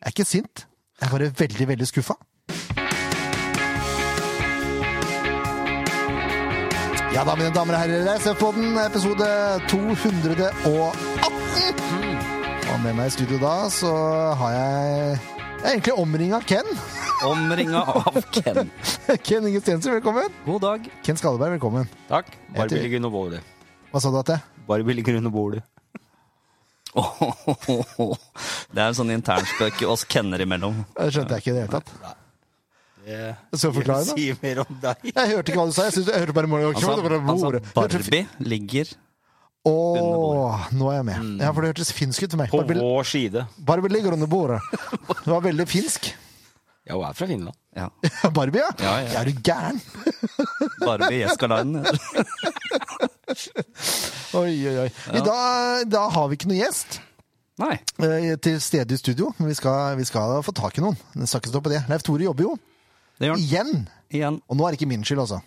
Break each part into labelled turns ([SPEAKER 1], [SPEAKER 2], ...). [SPEAKER 1] Jeg er ikke sint. Jeg er bare veldig, veldig skuffa. Ja da, mine damer og herrer, SF-podden, episode 218. Og med meg i studio da, så har jeg Jeg er egentlig omringa av Ken.
[SPEAKER 2] Omringa av Ken.
[SPEAKER 1] Ken Inge Stensen, velkommen.
[SPEAKER 2] God dag.
[SPEAKER 1] Ken Skalleberg, velkommen.
[SPEAKER 3] Takk.
[SPEAKER 1] Heter-
[SPEAKER 3] Barbie ligger under bordet.
[SPEAKER 1] Hva sa du at det?
[SPEAKER 3] Barbie ligger under bordet.
[SPEAKER 2] Det er en sånn internspøk oss kenner imellom.
[SPEAKER 1] Det skjønte jeg ikke i det hele tatt.
[SPEAKER 3] Det
[SPEAKER 1] Så forklarende.
[SPEAKER 3] sier mer om deg.
[SPEAKER 1] Jeg hørte ikke hva du sa. Jeg, synes, jeg hørte bare morgen.
[SPEAKER 2] Han sa, han sa Altså, Barbie ligger
[SPEAKER 1] Åh, nå er jeg med.
[SPEAKER 2] Mm.
[SPEAKER 1] Ja, for det hørtes finsk ut til meg.
[SPEAKER 3] På
[SPEAKER 1] Barbie,
[SPEAKER 3] vår side.
[SPEAKER 1] Barbie ligger under bordet. Det var veldig finsk.
[SPEAKER 3] Ja, hun er fra Finland.
[SPEAKER 2] ja.
[SPEAKER 1] Barbie, ja?
[SPEAKER 2] Ja, ja.
[SPEAKER 1] Er du gæren?
[SPEAKER 2] Barbie Jeskaline.
[SPEAKER 1] Oi, oi, oi. I dag, da har vi ikke noen gjest
[SPEAKER 2] Nei.
[SPEAKER 1] eh, til stede i studio, men vi skal, vi skal få tak i noen. Det skal ikke stå på det. Leif Tore jobber jo.
[SPEAKER 2] Det gjør han
[SPEAKER 1] Igjen!
[SPEAKER 2] igjen.
[SPEAKER 1] Og nå er det ikke min skyld, altså.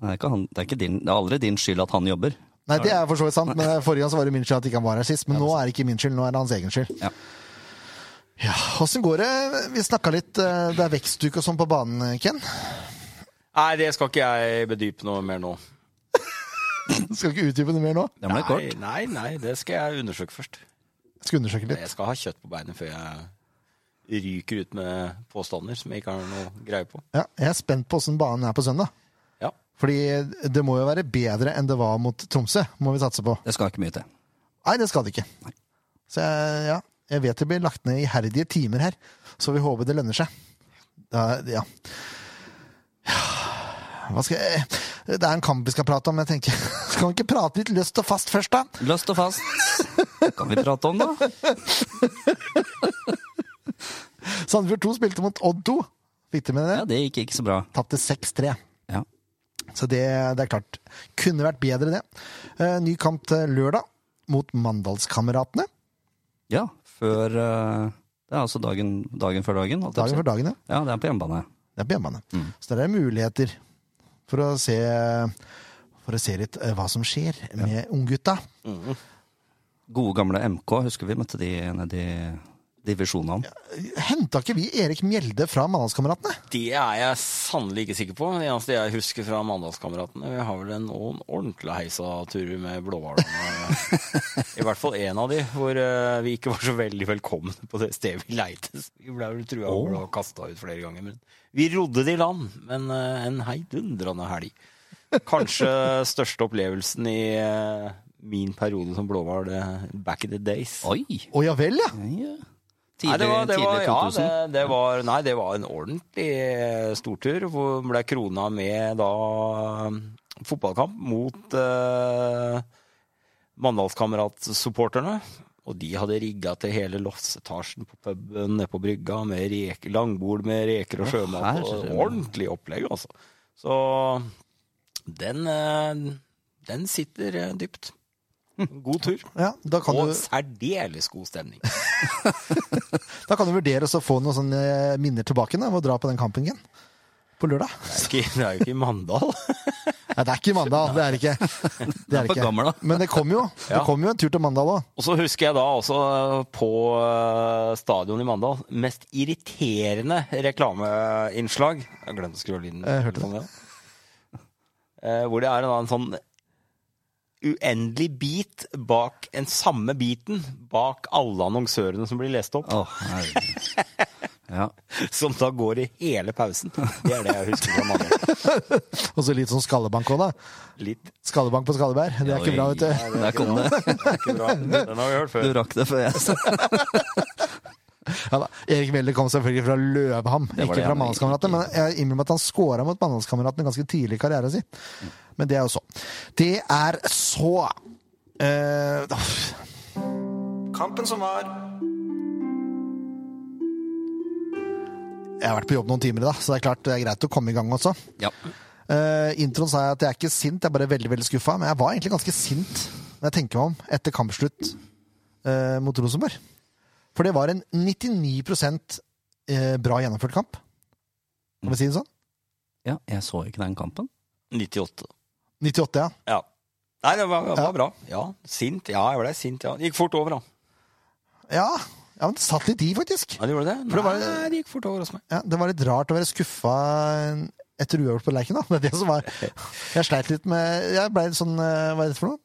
[SPEAKER 2] Det er, ikke han, det, er ikke din, det er aldri din skyld at han jobber.
[SPEAKER 1] Nei, det er for så vidt sant, men forrige gang så var det min skyld at ikke han var her sist. Men nå er det ikke min skyld, nå er det hans egen skyld.
[SPEAKER 2] Ja.
[SPEAKER 1] Ja, Åssen går det? Vi snakka litt eh, Det er vekstduke og sånn på banen, Ken.
[SPEAKER 3] Nei, det skal ikke jeg bedype noe mer nå.
[SPEAKER 1] Skal ikke utdype det mer nå.
[SPEAKER 2] Det ble
[SPEAKER 3] Nei,
[SPEAKER 2] kort.
[SPEAKER 3] nei, nei, det skal jeg undersøke først.
[SPEAKER 1] Skal undersøke litt.
[SPEAKER 3] Jeg skal ha kjøtt på beinet før jeg ryker ut med påstander som jeg ikke har noe greie på.
[SPEAKER 1] Ja, jeg er spent på åssen banen er på søndag.
[SPEAKER 3] Ja.
[SPEAKER 1] Fordi det må jo være bedre enn det var mot Tromsø, må vi satse på.
[SPEAKER 2] Det skal ikke mye til.
[SPEAKER 1] Nei, det skal det ikke. Så jeg, ja, jeg vet det blir lagt ned iherdige timer her, så vi håper det lønner seg. Da, ja. Ja, Hva skal jeg Det er en kamp vi skal prate om, men jeg tenker Skal vi ikke prate litt løst og fast først, da?
[SPEAKER 2] Løst og fast. Kan vi prate om, da?
[SPEAKER 1] Sandefjord 2 spilte mot Odd 2. Fikk de med det?
[SPEAKER 2] Ja, Det gikk ikke så bra.
[SPEAKER 1] Tapte 6-3.
[SPEAKER 2] Ja.
[SPEAKER 1] Så det, det er klart. Kunne vært bedre, det. Eh, Ny kamp til lørdag mot Mandalskameratene.
[SPEAKER 2] ja før eh, Det er altså dagen, dagen før dagen. holdt jeg
[SPEAKER 1] Dagen
[SPEAKER 2] på å si.
[SPEAKER 1] for dagen, ja.
[SPEAKER 2] Ja, det er på hjemmebane.
[SPEAKER 1] Det er på hjemmebane. Så der er muligheter for å se for å se litt eh, hva som skjer med unggutta.
[SPEAKER 2] Gode gamle MK, husker vi møtte de nede i divisjonene.
[SPEAKER 1] Henta ikke vi Erik Mjelde fra Mandalskameratene?
[SPEAKER 3] Det er jeg sannelig ikke sikker på. Det eneste jeg husker fra Mandalskameratene Vi har vel noen ordentlig heisa turer med blåhvalene. I hvert fall én av de, hvor eh, vi ikke var så veldig velkomne på det stedet vi leide. Så Vi ble vel trua og ble kasta ut flere ganger. Men vi rodde det i land. Men eh, en heidundrende helg. Kanskje største opplevelsen i eh, min periode som blåhval eh, back in the days.
[SPEAKER 2] Oi!
[SPEAKER 1] Å ja vel, ja!
[SPEAKER 2] Ja.
[SPEAKER 3] Nei,
[SPEAKER 2] Tidlig,
[SPEAKER 3] det var, det var,
[SPEAKER 2] tidlig
[SPEAKER 3] ja,
[SPEAKER 2] 2000.
[SPEAKER 3] det, det var, nei, det var en ordentlig eh, stortur. Hvor ble krona med da eh, fotballkamp mot eh, Mandalskamerat-supporterne. Og de hadde rigga til hele loftsetasjen på puben nede på brygga med reke, langbord med reker og
[SPEAKER 2] Å,
[SPEAKER 3] sjømat. Og
[SPEAKER 2] herre.
[SPEAKER 3] ordentlig opplegg, altså. Så den, eh, den sitter eh, dypt.
[SPEAKER 2] Hm.
[SPEAKER 3] God tur.
[SPEAKER 1] ja da, kan
[SPEAKER 3] Og
[SPEAKER 1] du,
[SPEAKER 3] særdeles god stemning.
[SPEAKER 1] da kan du vurdere å få noen sånne eh, minner tilbake da, ved å dra på den kampen igjen. På lørdag.
[SPEAKER 3] Det er ikke- det er jo ikke i Mandal.
[SPEAKER 1] Nei, det er ikke i Mandal. Det er det ikke. Det
[SPEAKER 2] for gammel, da.
[SPEAKER 1] Men det kom jo. Det
[SPEAKER 3] Ja.
[SPEAKER 1] kom jo en tur til Mandal òg.
[SPEAKER 3] Og så husker jeg da også eh, på eh, stadion i Mandal mest irriterende reklameinnslag. Jeg glemte å skru av lyden.
[SPEAKER 1] Jeg hørte det.
[SPEAKER 3] Eh, Hvor det er en, da en sånn uendelig bit bak en samme biten bak alle annonsørene som blir lest opp,
[SPEAKER 2] Å, herregud. Ja.
[SPEAKER 3] som da går i hele pausen. Det er det jeg husker fra Mandal.
[SPEAKER 1] Og så litt sånn skallebank òg, da.
[SPEAKER 3] Litt.
[SPEAKER 1] Skallebank på Skalleberg. Det er ikke bra, vet du.
[SPEAKER 2] Oi, Der kom det.
[SPEAKER 3] Det er ikke bra. Den har vi hørt
[SPEAKER 2] Du
[SPEAKER 3] før.
[SPEAKER 2] rakk det før jeg sa
[SPEAKER 1] Ja da. Erik Mjelde kom selvfølgelig fra Løvham,
[SPEAKER 2] var
[SPEAKER 1] ikke
[SPEAKER 2] det
[SPEAKER 1] fra
[SPEAKER 2] han-
[SPEAKER 1] Mandalskameratene. Men jeg innrømmer at han scora mot Mandalskameratene ganske tidlig i karrieren sin. Men det er jo så. Det er så eh, uff.
[SPEAKER 4] Kampen som var.
[SPEAKER 1] Jeg har vært på jobb noen timer i dag, så det er klart det er greit å komme i gang også.
[SPEAKER 2] ja.
[SPEAKER 1] Eh, introen sa jeg at jeg er ikke sint, jeg er bare veldig veldig skuffa. Men jeg var egentlig ganske sint når jeg tenker meg om etter kampslutt eh, mot Rosenborg. For det var en 99 eh, bra gjennomført kamp. Kan vi si det sånn?
[SPEAKER 2] ja. Jeg så ikke den kampen.
[SPEAKER 3] 98.
[SPEAKER 1] 98, ja.
[SPEAKER 3] Ja. Nei, det var, det
[SPEAKER 1] Ja.
[SPEAKER 3] var bra. Ja, sint. Ja, jeg ble sint, ja. Det gikk fort over, da.
[SPEAKER 1] Ja, Ja, men det satt litt i, faktisk.
[SPEAKER 3] Ja, det gjorde det?
[SPEAKER 1] For det var-
[SPEAKER 3] Nei, det gikk fort over hos meg.
[SPEAKER 1] Ja, det var litt rart å være skuffa etter uavgjort på Lerken, da. Det er det som var Jeg sleit litt med Jeg ble litt sånn eh, Hva er dette for noe?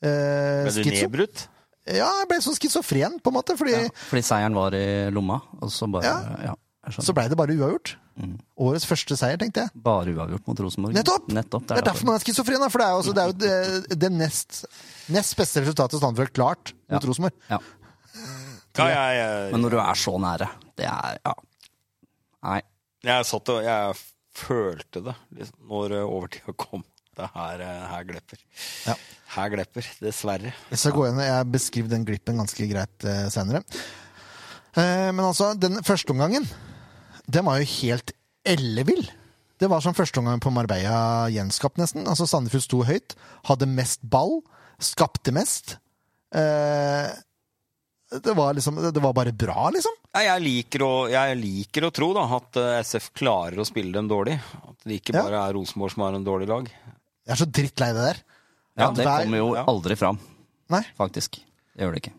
[SPEAKER 1] Eh,
[SPEAKER 3] Ble du
[SPEAKER 1] schizo.
[SPEAKER 3] nedbrutt?
[SPEAKER 1] Ja, jeg ble sånn schizofren, på en måte. Fordi
[SPEAKER 2] Ja, fordi seieren var i lomma, og så bare
[SPEAKER 1] Ja.
[SPEAKER 2] Ja, jeg skjønner.
[SPEAKER 1] så blei det bare uavgjort.
[SPEAKER 2] Mm.
[SPEAKER 1] Årets første seier, tenkte jeg.
[SPEAKER 2] Bare uavgjort mot Rosenborg.
[SPEAKER 1] Nettopp!
[SPEAKER 2] Nettopp
[SPEAKER 1] Det er derfor man er schizofren, da, for det er jo, også, det, er jo det, det nest, nest beste resultatet Sandefjord klart mot
[SPEAKER 2] Ja.
[SPEAKER 1] Rosenborg.
[SPEAKER 2] Ja.
[SPEAKER 3] Ja, jeg, jeg,
[SPEAKER 2] Men når du er så nære, det er Ja. Nei.
[SPEAKER 3] jeg satt og Jeg følte det liksom, når eh, overtida kom. Det her, eh, her glepper.
[SPEAKER 1] Ja.
[SPEAKER 3] Her glepper, dessverre.
[SPEAKER 1] Jeg skal gå inn, jeg beskriver den glippen ganske greit eh, senere. Eh, men altså, den første omgangen, den var jo helt ellevill. Det var som første omgang på Marbella gjenskapt, nesten. Altså, Sandefjord sto høyt, hadde mest ball, skapte mest. Eh, det var liksom Det var bare bra, liksom.
[SPEAKER 3] Nei, jeg liker, å, jeg liker å tro da, at eh, SF klarer å spille dem dårlig. At det ikke
[SPEAKER 1] Ja.
[SPEAKER 3] bare er Rosenborg som har en dårlig lag.
[SPEAKER 1] Jeg er så drittlei det der.
[SPEAKER 2] Ja,
[SPEAKER 1] Ja,
[SPEAKER 2] det
[SPEAKER 1] der-
[SPEAKER 2] kommer jo
[SPEAKER 3] ja.
[SPEAKER 2] aldri fram,
[SPEAKER 1] Nei.
[SPEAKER 2] faktisk. Det gjør det ikke.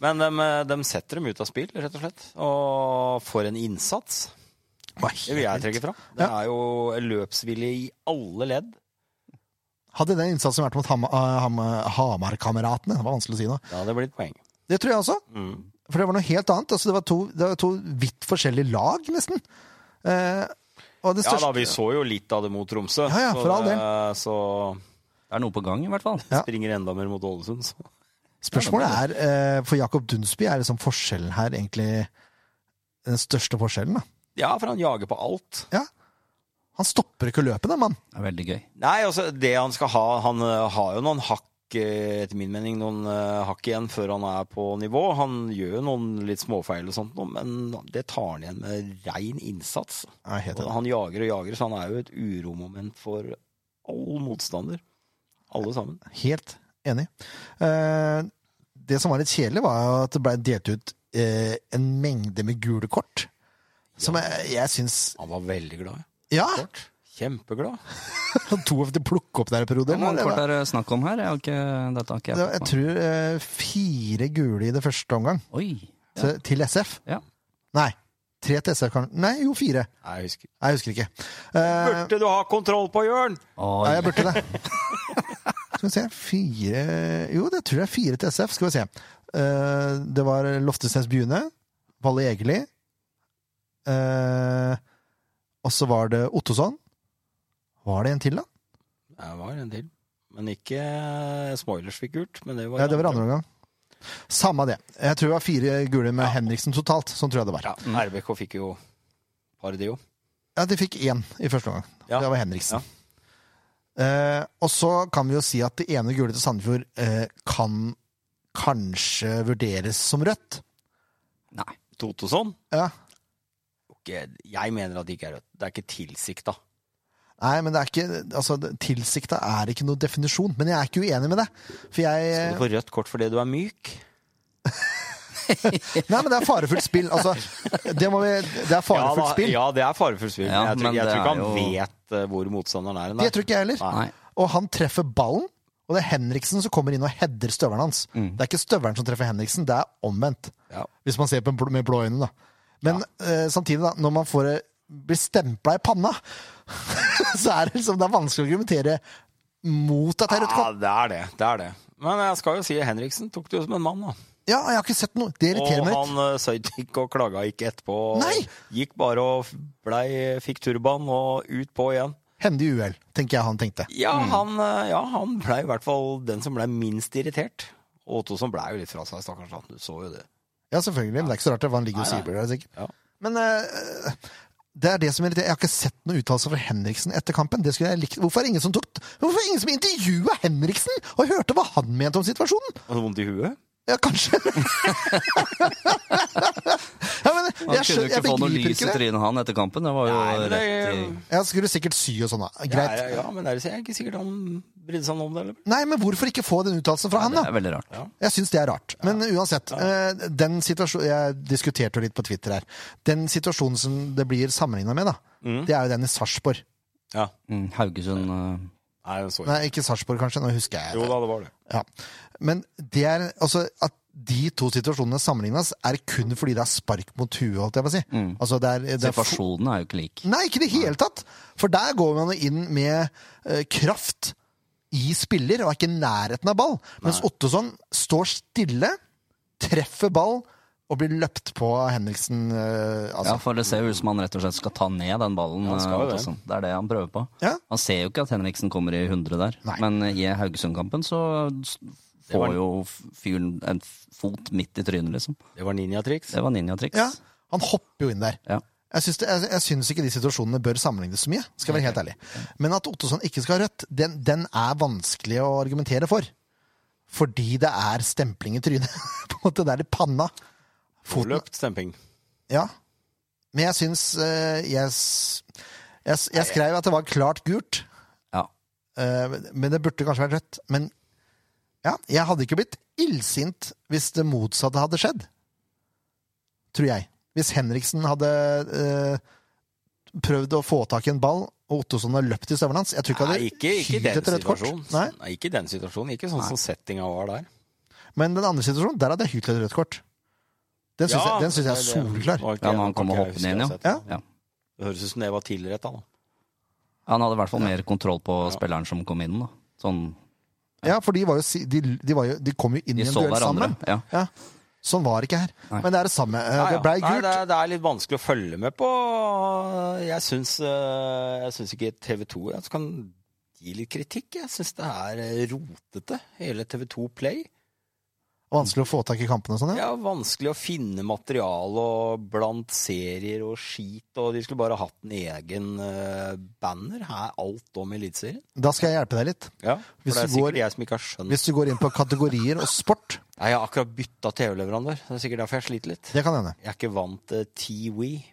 [SPEAKER 3] Men de, setter dem ut av spill, rett og slett. Og for en innsats! Det vil jeg trekke fra. Det er jo løpsvilje i alle ledd.
[SPEAKER 1] Hadde den innsatsen vært mot Ham- eh, Ham- Hamar-kameratene, det var vanskelig å si nå.
[SPEAKER 3] Da hadde det blitt poeng. Mm.
[SPEAKER 1] Det tror jeg også. For det var noe helt annet. Altså, det, var to, det var to vidt forskjellige lag, nesten. Eh, og det
[SPEAKER 3] Ja
[SPEAKER 1] største
[SPEAKER 3] da, vi så jo litt av det mot Tromsø.
[SPEAKER 1] Ja, ja,
[SPEAKER 3] så
[SPEAKER 1] for all
[SPEAKER 3] det-
[SPEAKER 1] del.
[SPEAKER 3] Så
[SPEAKER 2] Det er noe på gang, i hvert fall.
[SPEAKER 1] Ja.
[SPEAKER 3] springer enda mer mot Ålesund. Så.
[SPEAKER 1] Spørsmålet er, eh, for Jakob Dunsby, er liksom forskjellen her egentlig den største forskjellen? da?
[SPEAKER 3] Ja, for han jager på alt.
[SPEAKER 1] Han stopper ikke løpet, da, mann.
[SPEAKER 2] Det er veldig gøy.
[SPEAKER 3] Nei, altså, det han skal ha Han eh, har jo noen hakk, eh, etter min mening, noen eh, hakk igjen før han er på nivå. Han gjør jo noen litt småfeil og sånt, nå, men det tar han igjen med rein innsats.
[SPEAKER 1] Ja, helt
[SPEAKER 3] Og
[SPEAKER 1] enig.
[SPEAKER 3] han jager og jager, så han er jo et uromoment for all motstander. Alle sammen.
[SPEAKER 1] Helt enig. Eh, det som var litt kjedelig, var jo at det ble delt ut eh, en mengde med gule kort. Som jeg, jeg syns
[SPEAKER 3] Han var veldig glad.
[SPEAKER 1] Ja!
[SPEAKER 3] Kort. Kjempeglad.
[SPEAKER 1] To av dem plukke opp der i perioden.
[SPEAKER 2] Hvor mange
[SPEAKER 1] det
[SPEAKER 2] kort
[SPEAKER 1] var-
[SPEAKER 2] er det snakk om her? Jeg har ikke, dette har ikke jeg
[SPEAKER 1] det var- Jeg
[SPEAKER 2] fått med
[SPEAKER 1] tror eh, fire gule i det første omgang.
[SPEAKER 2] meg. Oi! Ja.
[SPEAKER 1] til, til SF.
[SPEAKER 2] Ja.
[SPEAKER 1] Nei. Tre til SF, kan Nei, jo, fire.
[SPEAKER 3] Nei, Jeg husker.
[SPEAKER 1] Nei, jeg husker ikke. Eh,
[SPEAKER 3] Burde du ha kontroll på, Jørn?
[SPEAKER 2] Oi.
[SPEAKER 1] ja, jeg burde det. Skal vi se Fire Jo, det tror jeg er fire til SF. Skal vi se. Eh, det var Loftesnes Bune, Valle Egeli eh, Og så var det Ottosson. Var det en til, da?
[SPEAKER 3] Det var en til. Men ikke Smoilers fikk gult. Men det var,
[SPEAKER 1] Nei, det var andre omgang. Samme det. Jeg tror det var fire gule med Henriksen totalt. Sånn tror jeg det var.
[SPEAKER 3] Ja, RBK fikk jo par, de jo.
[SPEAKER 1] Ja, de fikk én i første omgang.
[SPEAKER 3] Ja.
[SPEAKER 1] Det var Henriksen. Eh, og så kan vi jo si at det ene gule til Sandefjord eh, kan kanskje vurderes som rødt.
[SPEAKER 2] Nei.
[SPEAKER 3] Totosson?
[SPEAKER 1] Ja.
[SPEAKER 3] Ok, Jeg mener at det ikke er rødt. Det er ikke tilsikta.
[SPEAKER 1] Nei, men det er ikke altså, Tilsikta er ikke noen definisjon, men jeg er ikke uenig med det. For
[SPEAKER 3] Du
[SPEAKER 1] jeg
[SPEAKER 3] får rødt kort fordi du er myk.
[SPEAKER 1] Nei, men det er farefullt spill. Altså, det, må vi, det er
[SPEAKER 3] Ja,
[SPEAKER 1] farefullt
[SPEAKER 3] da-
[SPEAKER 1] spill.
[SPEAKER 3] ja, det er farefullt spill.
[SPEAKER 2] Ja,
[SPEAKER 3] jeg tror,
[SPEAKER 2] men
[SPEAKER 3] jeg
[SPEAKER 2] det
[SPEAKER 3] tror ikke han
[SPEAKER 2] er jo-
[SPEAKER 3] vet eh, hvor motstanderen er.
[SPEAKER 1] Det tror ikke jeg heller.
[SPEAKER 3] Nei.
[SPEAKER 2] Nei.
[SPEAKER 1] Og han treffer ballen, og det er Henriksen som kommer inn og header støvelen hans.
[SPEAKER 3] Mm.
[SPEAKER 1] Det er ikke støvelen som treffer Henriksen, det er omvendt.
[SPEAKER 3] Ja.
[SPEAKER 1] Hvis man ser på en bl med blå øyne, da. Men eh, samtidig, da, når man får, eh, blir stempla i panna, så er det liksom Det er vanskelig å argumentere mot at det er rødt
[SPEAKER 3] Ja,
[SPEAKER 1] kort.
[SPEAKER 3] det er det. det er det. Men jeg skal jo si Henriksen tok det jo som en mann, da.
[SPEAKER 1] Ja, jeg har ikke sett noe. Det irriterer
[SPEAKER 3] Og
[SPEAKER 1] meg litt.
[SPEAKER 3] han eh, søyt ikke og klaga ikke etterpå. og
[SPEAKER 1] Nei!
[SPEAKER 3] Gikk bare og blei, fikk turban og ut på igjen.
[SPEAKER 1] Hendig uhell, tenker jeg han tenkte.
[SPEAKER 3] Ja, han, eh, ja, han blei i hvert fall den som blei minst irritert. Og Otto som blei jo litt fra seg, stakkars. Han, du så jo det.
[SPEAKER 1] Ja, selvfølgelig. Men det er ikke så rart, det, for han ligger og
[SPEAKER 3] Nei, nei.
[SPEAKER 1] sibler der, sikkert.
[SPEAKER 3] Ja.
[SPEAKER 1] Men eh, det er det som irriterer. Jeg har ikke sett noen uttalelser fra Henriksen etter kampen. Det skulle jeg likt. Hvorfor er det ingen som tok Hvorfor er det ingen som intervjua Henriksen og hørte hva han mente om situasjonen?
[SPEAKER 3] Hadde vondt i huet?
[SPEAKER 1] Ja, kanskje. ja, men jeg,
[SPEAKER 2] Han kunne
[SPEAKER 1] skjønner-
[SPEAKER 2] jo
[SPEAKER 1] jeg
[SPEAKER 2] ikke få noe
[SPEAKER 1] begriper
[SPEAKER 2] lys
[SPEAKER 1] ikke
[SPEAKER 2] i
[SPEAKER 1] det.
[SPEAKER 2] trynet, han, etter kampen. Det var jo
[SPEAKER 3] Nei, men det-
[SPEAKER 2] rett
[SPEAKER 1] Jeg skulle sikkert sy og sånn, da. Greit.
[SPEAKER 3] Ja, ja, men det er det- jeg er ikke sikkert han brydde seg noe om det. Eller?
[SPEAKER 1] Nei, men hvorfor ikke få den uttalelsen fra
[SPEAKER 2] i
[SPEAKER 1] han,
[SPEAKER 2] Det
[SPEAKER 1] da?
[SPEAKER 2] er veldig rart.
[SPEAKER 3] Ja.
[SPEAKER 1] Jeg syns det er rart. Men uansett, eh, den situasjonen Jeg diskuterte jo litt på Twitter her. Den situasjonen som det blir sammenligna med, da, det er jo den i Sarpsborg.
[SPEAKER 3] Ja.
[SPEAKER 2] Mm, Haugesund eh,
[SPEAKER 3] Nei, den så jeg.
[SPEAKER 1] Nei, ikke Sarpsborg, kanskje. Nå husker jeg.
[SPEAKER 3] Jo da, det var det.
[SPEAKER 1] Ja. Men det er altså at de to situasjonene sammenlignes, er kun fordi det er spark mot huet, holdt jeg på å si. Altså, det er, det er
[SPEAKER 2] Situasjonen er jo ikke lik.
[SPEAKER 1] Nei, ikke i det hele tatt! For der går man jo inn med eh, kraft i spiller, og er ikke i nærheten av ball. Mens Ottosson står stille, treffer ball og blir løpt på av Henriksen. eh,
[SPEAKER 2] Ja,
[SPEAKER 1] altså.
[SPEAKER 2] for det ser jo ut som han rett og slett skal ta ned den ballen.
[SPEAKER 3] han skal jo
[SPEAKER 2] eh,
[SPEAKER 3] det.
[SPEAKER 2] Ottosson. Det er det han prøver på.
[SPEAKER 1] Ja.
[SPEAKER 2] Han ser jo ikke at Henriksen kommer i 100 der,
[SPEAKER 1] Nei.
[SPEAKER 2] men eh, i Haugesund-kampen så s-
[SPEAKER 3] Det var-
[SPEAKER 2] får jo fyren en f- fot midt i trynet, liksom.
[SPEAKER 3] Det var ninjatriks.
[SPEAKER 2] Det var ninjatriks.
[SPEAKER 1] ja. Han hopper jo inn der.
[SPEAKER 2] Ja.
[SPEAKER 1] Jeg syns, det, jeg, jeg syns ikke de situasjonene bør sammenlignes så mye. skal jeg være helt ærlig. Men at Ottosson ikke skal ha rødt, den, den er vanskelig å argumentere for. Fordi det er stempling i trynet. på en måte, Det er i panna. Foten
[SPEAKER 3] Løpt stemping.
[SPEAKER 1] Ja. Men jeg syns eh, jeg, s- jeg, s- jeg skrev at det var klart gult.
[SPEAKER 2] Ja.
[SPEAKER 1] eh, men det burde kanskje vært rødt. Men ja, jeg hadde ikke blitt illsint hvis det motsatte hadde skjedd. Tror jeg. Hvis Henriksen hadde eh, prøvd å få tak i en ball, og Ottosson hadde løpt i støvelen hans Jeg tror ikke jeg
[SPEAKER 3] Nei,
[SPEAKER 1] hadde
[SPEAKER 3] ikke, ikke i
[SPEAKER 1] hylt
[SPEAKER 3] den
[SPEAKER 1] et rødt kort.
[SPEAKER 3] situasjonen.
[SPEAKER 1] Nei.
[SPEAKER 3] Nei, ikke i den situasjonen. Ikke sånn som settinga var der.
[SPEAKER 1] Men den andre situasjonen, der hadde jeg hylt et rødt kort. Den syns jeg, den syns jeg er
[SPEAKER 3] det- det
[SPEAKER 1] soleklar.
[SPEAKER 3] var ikke-
[SPEAKER 2] Ja, når han
[SPEAKER 3] kan
[SPEAKER 2] kommer
[SPEAKER 3] ikke jeg
[SPEAKER 2] hoppende inn,
[SPEAKER 3] huske å ha
[SPEAKER 1] ja.
[SPEAKER 3] sett.
[SPEAKER 2] Ja.
[SPEAKER 3] Det høres ut som det var tilretta, da.
[SPEAKER 2] Han hadde i hvert fall mer kontroll på
[SPEAKER 3] Ja.
[SPEAKER 2] spilleren som kom inn, da. Sånn,
[SPEAKER 1] Ja, for de, var jo, si- de, de, var jo, de kom jo inn i
[SPEAKER 2] de
[SPEAKER 1] en
[SPEAKER 2] så
[SPEAKER 1] duell sammen.
[SPEAKER 2] hverandre. Ja.
[SPEAKER 1] Ja. Sånn var det ikke her.
[SPEAKER 2] Nei.
[SPEAKER 1] Men det er det samme. Eh,
[SPEAKER 3] Ja, ja.
[SPEAKER 1] Det blei
[SPEAKER 3] Nei,
[SPEAKER 1] gult.
[SPEAKER 3] det, er, det er litt vanskelig å følge med på. Jeg syns, eh, jeg syns ikke TV 2 jeg kan gi litt kritikk. Jeg syns det er eh, rotete, hele TV 2 Play.
[SPEAKER 1] Vanskelig å få tak i kampene og sånn, ja.
[SPEAKER 3] Ja, vanskelig å finne materiale og blant serier og skit, og de skulle bare hatt en egen eh, banner. Her er alt om Eliteserien.
[SPEAKER 1] Da skal jeg hjelpe deg litt.
[SPEAKER 3] Ja, for
[SPEAKER 1] Hvis
[SPEAKER 3] det er
[SPEAKER 1] du går-
[SPEAKER 3] sikkert jeg som ikke har skjønt
[SPEAKER 1] Hvis du går inn på kategorier og sport,
[SPEAKER 3] Nei, Jeg har akkurat bytta TV-leverandør. Det er sikkert derfor jeg sliter litt.
[SPEAKER 1] det kan hende.
[SPEAKER 3] Jeg er ikke vant eh, til TV.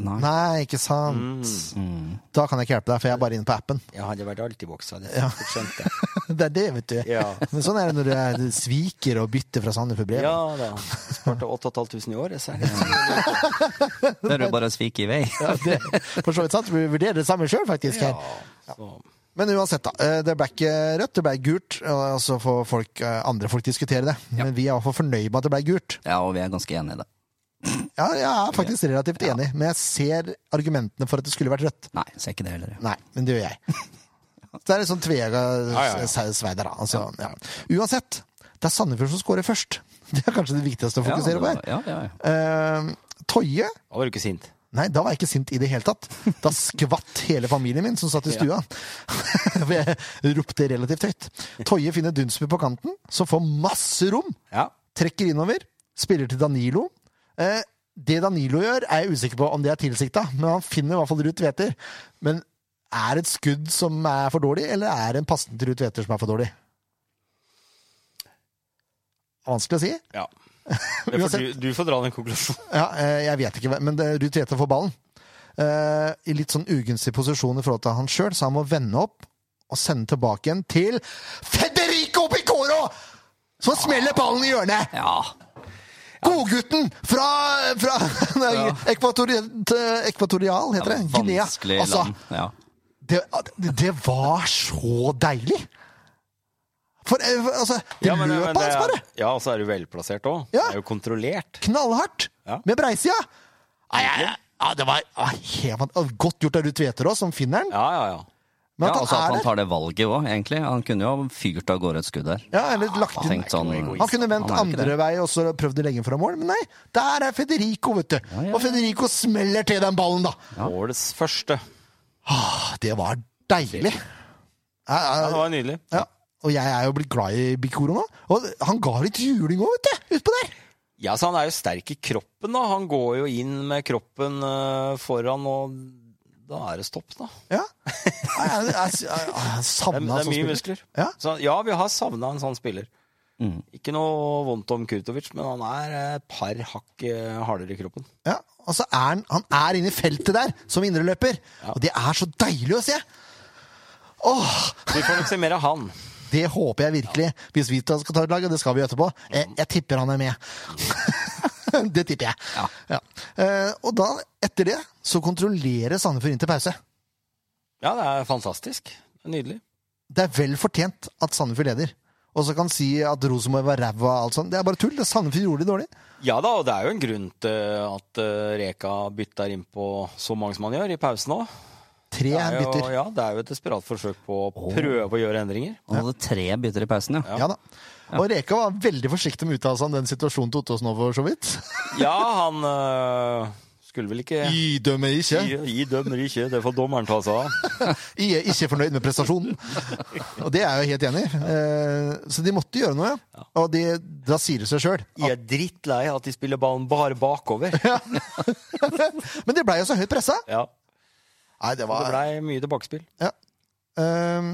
[SPEAKER 2] Nei.
[SPEAKER 1] Nei, ikke sant.
[SPEAKER 2] Mm.
[SPEAKER 1] Da kan jeg ikke hjelpe deg, for jeg er bare inne på appen.
[SPEAKER 3] Jeg hadde vært alltidboksa. Det ja. skjønte jeg.
[SPEAKER 1] Det er det, vet du.
[SPEAKER 3] Ja.
[SPEAKER 1] Men sånn er det når du er- du sviker og bytter fra Sandefjord brev.
[SPEAKER 3] Ja da. Sparte 8500 i året, så er det
[SPEAKER 2] Det er jo bare svik i vei.
[SPEAKER 1] Ja, det, for så vidt sant. Vi vurderer det samme sjøl, faktisk. her.
[SPEAKER 3] så-
[SPEAKER 1] Men uansett, da. eh, Det ble ikke rødt, det ble gult. Og så får folk, eh, andre folk diskutere det. Men vi er i hvert fall fornøyd med at det ble gult.
[SPEAKER 2] Ja, og vi er ganske enige i det.
[SPEAKER 1] Ja, jeg er faktisk relativt enig, men jeg ser argumentene for at det skulle vært rødt.
[SPEAKER 2] Nei, ser ikke det heller. jeg.
[SPEAKER 1] Nei, men det gjør jeg. Så det er litt sånn tvega
[SPEAKER 3] ja, ja.
[SPEAKER 1] sveider, da. Altså, ja. Uansett, det er Sandefjord som scorer først. Det er kanskje det viktigste å fokusere på
[SPEAKER 2] ja,
[SPEAKER 1] her.
[SPEAKER 2] ja, ja, ja.
[SPEAKER 1] Eh, Toje
[SPEAKER 3] Da var du ikke sint.
[SPEAKER 1] Nei, da var jeg ikke sint i det hele tatt. Da skvatt hele familien min som satt i stua. For jeg ropte relativt høyt. Toje finner Dunsby på kanten, som får masse rom.
[SPEAKER 3] Ja.
[SPEAKER 1] Trekker innover. Spiller til Danilo. Eh, det Danilo gjør, er jeg usikker på om det er tilsikta, men han finner i hvert fall Ruth Tveter. Men er det et skudd som er for dårlig, eller er det en pasning til Ruth Tveter som er for dårlig? Vanskelig å si.
[SPEAKER 3] ja. Det får du,
[SPEAKER 1] Uansett.
[SPEAKER 3] du får dra den konklusjonen.
[SPEAKER 1] Ja, eh, jeg vet ikke, hva- men det- Ruth Tveter får ballen. Eh, I litt sånn ugunstig posisjon i forhold til han sjøl, så han må vende opp og sende tilbake igjen til Federico Picoro! Som smeller ballen i hjørnet!
[SPEAKER 2] ja.
[SPEAKER 1] Godgutten fra, fra nei, Ekvatori- eh, Ekvatorial, heter det. Guinea.
[SPEAKER 2] Vanskelig
[SPEAKER 1] Altså,
[SPEAKER 2] land. Ja.
[SPEAKER 1] det, det var så deilig! For eh, altså, det løpet hans bare!
[SPEAKER 3] ja, og så er du velplassert òg.
[SPEAKER 1] Ja.
[SPEAKER 3] Det er jo kontrollert.
[SPEAKER 1] Knallhardt!
[SPEAKER 3] Ja.
[SPEAKER 1] Med breisida! Nei, jeg- jeg- Ja, det var ja, helt fant- Godt gjort av Ruud Tveter òg, som finner den.
[SPEAKER 3] Ja, ja, ja.
[SPEAKER 1] Men
[SPEAKER 2] ja,
[SPEAKER 1] at
[SPEAKER 2] altså at
[SPEAKER 1] han
[SPEAKER 2] han
[SPEAKER 1] er der.
[SPEAKER 2] tar det valget òg, egentlig. Han kunne jo ha fyrt av gårde et skudd der.
[SPEAKER 1] Ja, eller lagt inn.
[SPEAKER 2] Tenkt sånn,
[SPEAKER 1] Han kunne vendt
[SPEAKER 2] Han er ikke
[SPEAKER 1] andre
[SPEAKER 2] det.
[SPEAKER 1] vei og så prøvd å legge den fra mål, men nei. Der er Federico, vet du.
[SPEAKER 2] ja,
[SPEAKER 1] Og Federico smeller til den ballen, da. Ah,
[SPEAKER 3] Årets første.
[SPEAKER 1] Det var deilig. Ja, ja,
[SPEAKER 3] Ja, det var nydelig.
[SPEAKER 1] Ja, og jeg er jo blitt glad i Bikoro nå. Og han ga litt juling òg, vet du! Utpå der.
[SPEAKER 3] Ja, så Han er jo sterk i kroppen. da. Han går jo inn med kroppen eh, foran, og da er det stopp, da.
[SPEAKER 1] Ja. Nei, Jeg, jeg, jeg, jeg
[SPEAKER 3] Det er,
[SPEAKER 1] savna sånn
[SPEAKER 3] det er mye
[SPEAKER 1] spiller.
[SPEAKER 3] muskler.
[SPEAKER 1] Ja.
[SPEAKER 3] Så, ja, vi har savna en sånn spiller.
[SPEAKER 2] Mm.
[SPEAKER 3] Ikke noe vondt om Kurtovic, men han er et par hakk eh, hardere i kroppen.
[SPEAKER 1] Ja. Og så er han, han er inne i feltet der, som indreløper.
[SPEAKER 3] Ja.
[SPEAKER 1] Og det er så deilig å se! Åh,
[SPEAKER 3] Vi får nok se mer av han.
[SPEAKER 1] det håper jeg virkelig. Hvis vi skal ta et lag, og det skal vi etterpå, jeg, jeg tipper han er med. det tipper jeg.
[SPEAKER 2] Ja.
[SPEAKER 1] Eh, og da, etter det, så kontrollerer Sandefjord inn til pause.
[SPEAKER 3] Ja, det er fantastisk. Nydelig.
[SPEAKER 1] Det er vel fortjent at Sandefjord leder. og så kan si at Rosenborg var ræva og alt sånt. Det er bare tull. Det er Sandefjord gjorde det dårlig.
[SPEAKER 3] Ja da, og det er jo en grunn til at eh, Reka bytter innpå så mange som han gjør, i pausen òg.
[SPEAKER 1] Tre
[SPEAKER 3] Det er jo,
[SPEAKER 1] bytter.
[SPEAKER 3] ja, det er jo et desperat forsøk på å prøve å gjøre endringer.
[SPEAKER 2] Han hadde tre bytter i pausen, ja.
[SPEAKER 1] Ja. da. Og Reka var veldig forsiktig med å uttale seg om den situasjonen til Ottåsen nå, for så vidt.
[SPEAKER 3] Ja, han øh, skulle vel ikke I,
[SPEAKER 1] Idømmer ikke.
[SPEAKER 3] I dømmer ikke, det får dommeren ta seg av.
[SPEAKER 1] I er ikke fornøyd med prestasjonen. Og det er jeg jo helt enig i. Eh, Så de måtte gjøre noe, ja. Og de, da sier det seg sjøl.
[SPEAKER 3] Jeg er drittlei at de spiller ballen bare bakover.
[SPEAKER 1] Men det blei jo så høyt pressa.
[SPEAKER 3] Ja,
[SPEAKER 1] Nei, det
[SPEAKER 3] Det
[SPEAKER 1] var
[SPEAKER 3] blei mye tilbakespill.
[SPEAKER 1] Ja. Ehm,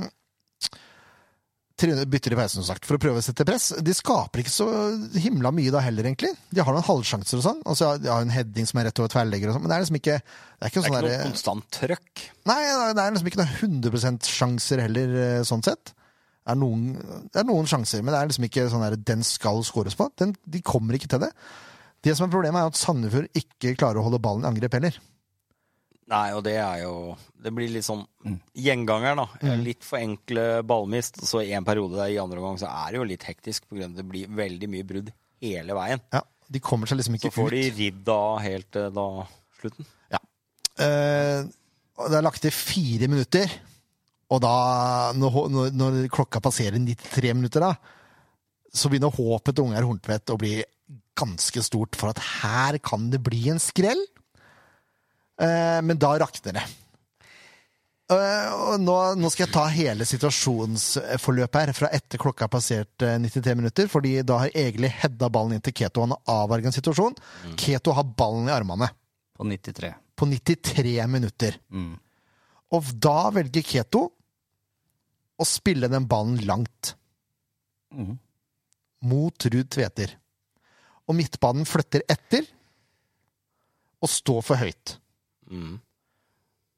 [SPEAKER 1] 300 bytter i pausen, som sagt, for å prøve å sette press. De skaper ikke så himla mye da heller, egentlig. De har noen halvsjanser og sånn. Og så har de har en heading som er rett over tverrlegger og sånn, men det er liksom ikke Det er ikke,
[SPEAKER 3] Det er
[SPEAKER 1] sånn
[SPEAKER 3] ikke noe
[SPEAKER 1] derre-
[SPEAKER 3] konstant trøkk.
[SPEAKER 1] Nei, det er liksom ikke noen 100 sjanser heller, eh, sånn sett. Det er noen, det er noen sjanser, men det er liksom ikke sånn der, den skal skåres på. Den, de kommer ikke til det. Det som er problemet, er at Sandefjord ikke klarer å holde ballen i angrep heller.
[SPEAKER 3] Nei, og det er jo Det blir litt sånn gjengangeren, da. Litt for enkle ballmist. Og så i en periode der i andre omgang så er det jo litt hektisk, på grunn av at det blir veldig mye brudd hele veien.
[SPEAKER 1] Ja, de kommer seg liksom ikke
[SPEAKER 3] Så får de
[SPEAKER 1] ut.
[SPEAKER 3] ridd av helt til da slutten.
[SPEAKER 1] Eh, og det er lagt til fire minutter, og da, når, når, når klokka passerer 93 minutter, da, så begynner håpet til Ungar Horntvedt å bli ganske stort for at her kan det bli en skrell. Eh, men da rakner det. Eh, og nå, nå skal jeg ta hele situasjonsforløpet her, fra etter klokka har passert eh, 93 minutter. fordi da har Egil hedda ballen inn til Keto. Han har avverga en situasjon. Keto har ballen i armene
[SPEAKER 2] På 93.
[SPEAKER 1] på 93 minutter.
[SPEAKER 2] Mm.
[SPEAKER 1] Og da velger Keto å spille den ballen langt
[SPEAKER 2] Mhm.
[SPEAKER 1] mot Ruud Tveter. Og midtbanen flytter etter og står for høyt.
[SPEAKER 3] Mm.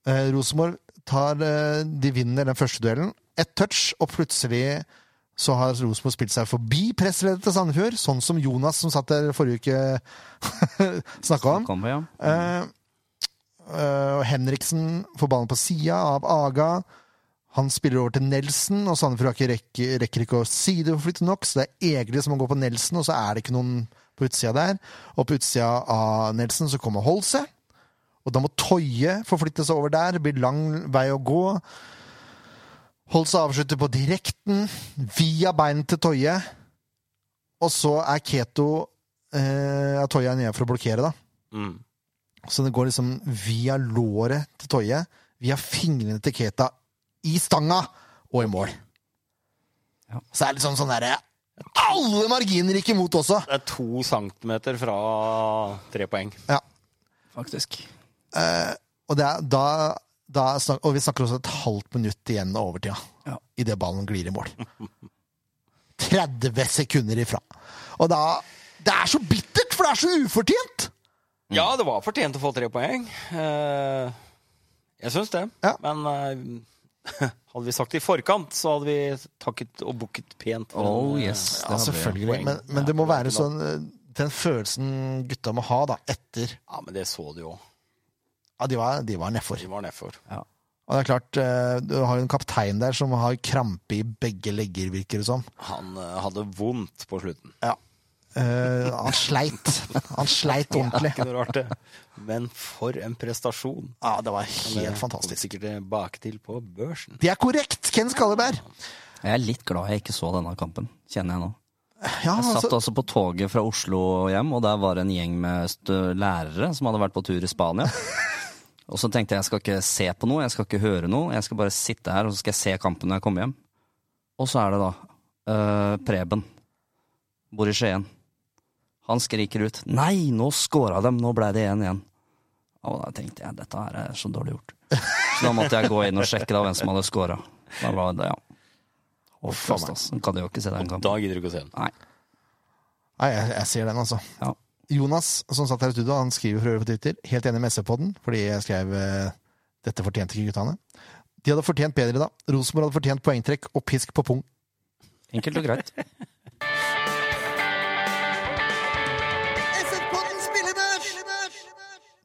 [SPEAKER 1] Eh, Rosenborg tar eh, De vinner den første duellen. Ett touch, og plutselig så har Rosenborg spilt seg forbi pressledet til Sandefjord, sånn som Jonas som satt der forrige uke snakka om.
[SPEAKER 2] Kom på, ja. Mm,
[SPEAKER 1] Eh, eh, og Henriksen får ballen på sida av Aga. Han spiller over til Nelson, og Sandefjord har ikke rekk- rekker ikke å sideforflytte nok, så det er Egil som må gå på Nelson, og så er det ikke noen på utsida der. Og på utsida av Nelson så kommer Holse, og da må Toje forflytte seg over der. Det blir lang vei å gå. Holse avslutter på direkten, via beinet til Toje, og så er Keto eh, ja, Toje er nede for å blokkere, da.
[SPEAKER 3] Mm.
[SPEAKER 1] Så det går liksom via låret til Toje, via fingrene til Keta, i stanga og i mål.
[SPEAKER 2] Ja.
[SPEAKER 1] Så er det liksom sånn derre Alle marginer gikk imot også!
[SPEAKER 3] Det er to centimeter fra tre poeng.
[SPEAKER 1] Ja.
[SPEAKER 2] Faktisk.
[SPEAKER 1] Og, det er, da, da er snak, og vi snakker også et halvt minutt igjen av overtida.
[SPEAKER 2] Ja.
[SPEAKER 1] Idet ballen glir i mål. 30 sekunder ifra. Og da Det er så bittert, for det er så ufortjent! Mm.
[SPEAKER 3] Ja, det var fortjent å få tre poeng. Eh, Jeg syns det.
[SPEAKER 1] Ja.
[SPEAKER 3] Men eh, hadde vi sagt det i forkant, så hadde vi takket og booket pent. for
[SPEAKER 2] Oh
[SPEAKER 3] den, eh,
[SPEAKER 2] yes. det
[SPEAKER 1] Ja,
[SPEAKER 2] hadde jeg.
[SPEAKER 1] selvfølgelig.
[SPEAKER 3] poeng.
[SPEAKER 1] Men,
[SPEAKER 3] Ja,
[SPEAKER 1] men det må
[SPEAKER 3] det var
[SPEAKER 1] være
[SPEAKER 3] ikke
[SPEAKER 1] sånn eh, Den følelsen gutta må ha da, etter
[SPEAKER 3] Ja, men det så du jo.
[SPEAKER 1] Ja, de var, de var nedfor.
[SPEAKER 3] De var nedfor.
[SPEAKER 1] Og det er klart, eh, du har jo en kaptein der som har krampe i begge legger, virker det som.
[SPEAKER 3] Han eh, hadde vondt på slutten.
[SPEAKER 1] Eh, han sleit. Han sleit ordentlig.
[SPEAKER 3] Ikke noe rart, det. Men for en prestasjon.
[SPEAKER 1] Ja, det var
[SPEAKER 3] Det
[SPEAKER 1] helt
[SPEAKER 3] kommer
[SPEAKER 1] fantastisk.
[SPEAKER 3] Sikkert tilbake til på børsen.
[SPEAKER 1] Det er korrekt, Ken Skalleberg!
[SPEAKER 2] Jeg er litt glad jeg ikke så denne kampen, kjenner jeg nå.
[SPEAKER 1] Ja,
[SPEAKER 2] Jeg satt
[SPEAKER 1] altså,
[SPEAKER 2] også på toget fra Oslo hjem, og der var det en gjeng med st- lærere som hadde vært på tur i Spania. Og så tenkte jeg jeg skal ikke se på noe, jeg skal ikke høre noe, jeg skal bare sitte her og så skal jeg se kampen når jeg kommer hjem. Og så er det da eh, Preben. Bor i Skien. Han skriker ut 'Nei, nå scora dem! Nå blei det 1-1'. Og da tenkte jeg dette her er så dårlig gjort. Så da måtte jeg gå inn og sjekke da hvem som hadde scora. Da var det, ja. Håpløst, altså. Kan jo ikke se den kampen.
[SPEAKER 3] Da gidder du ikke å se den.
[SPEAKER 2] Nei.
[SPEAKER 1] nei, jeg, jeg ser den, altså.
[SPEAKER 2] Ja.
[SPEAKER 1] Jonas, som satt her i studio, han skriver for øvrig på Twitter, helt enig med SV-podden, fordi jeg skrev eh, 'Dette fortjente ikke guttene'. De hadde fortjent bedre da. Rosenborg hadde fortjent poengtrekk og pisk på pung.
[SPEAKER 2] Enkelt og greit.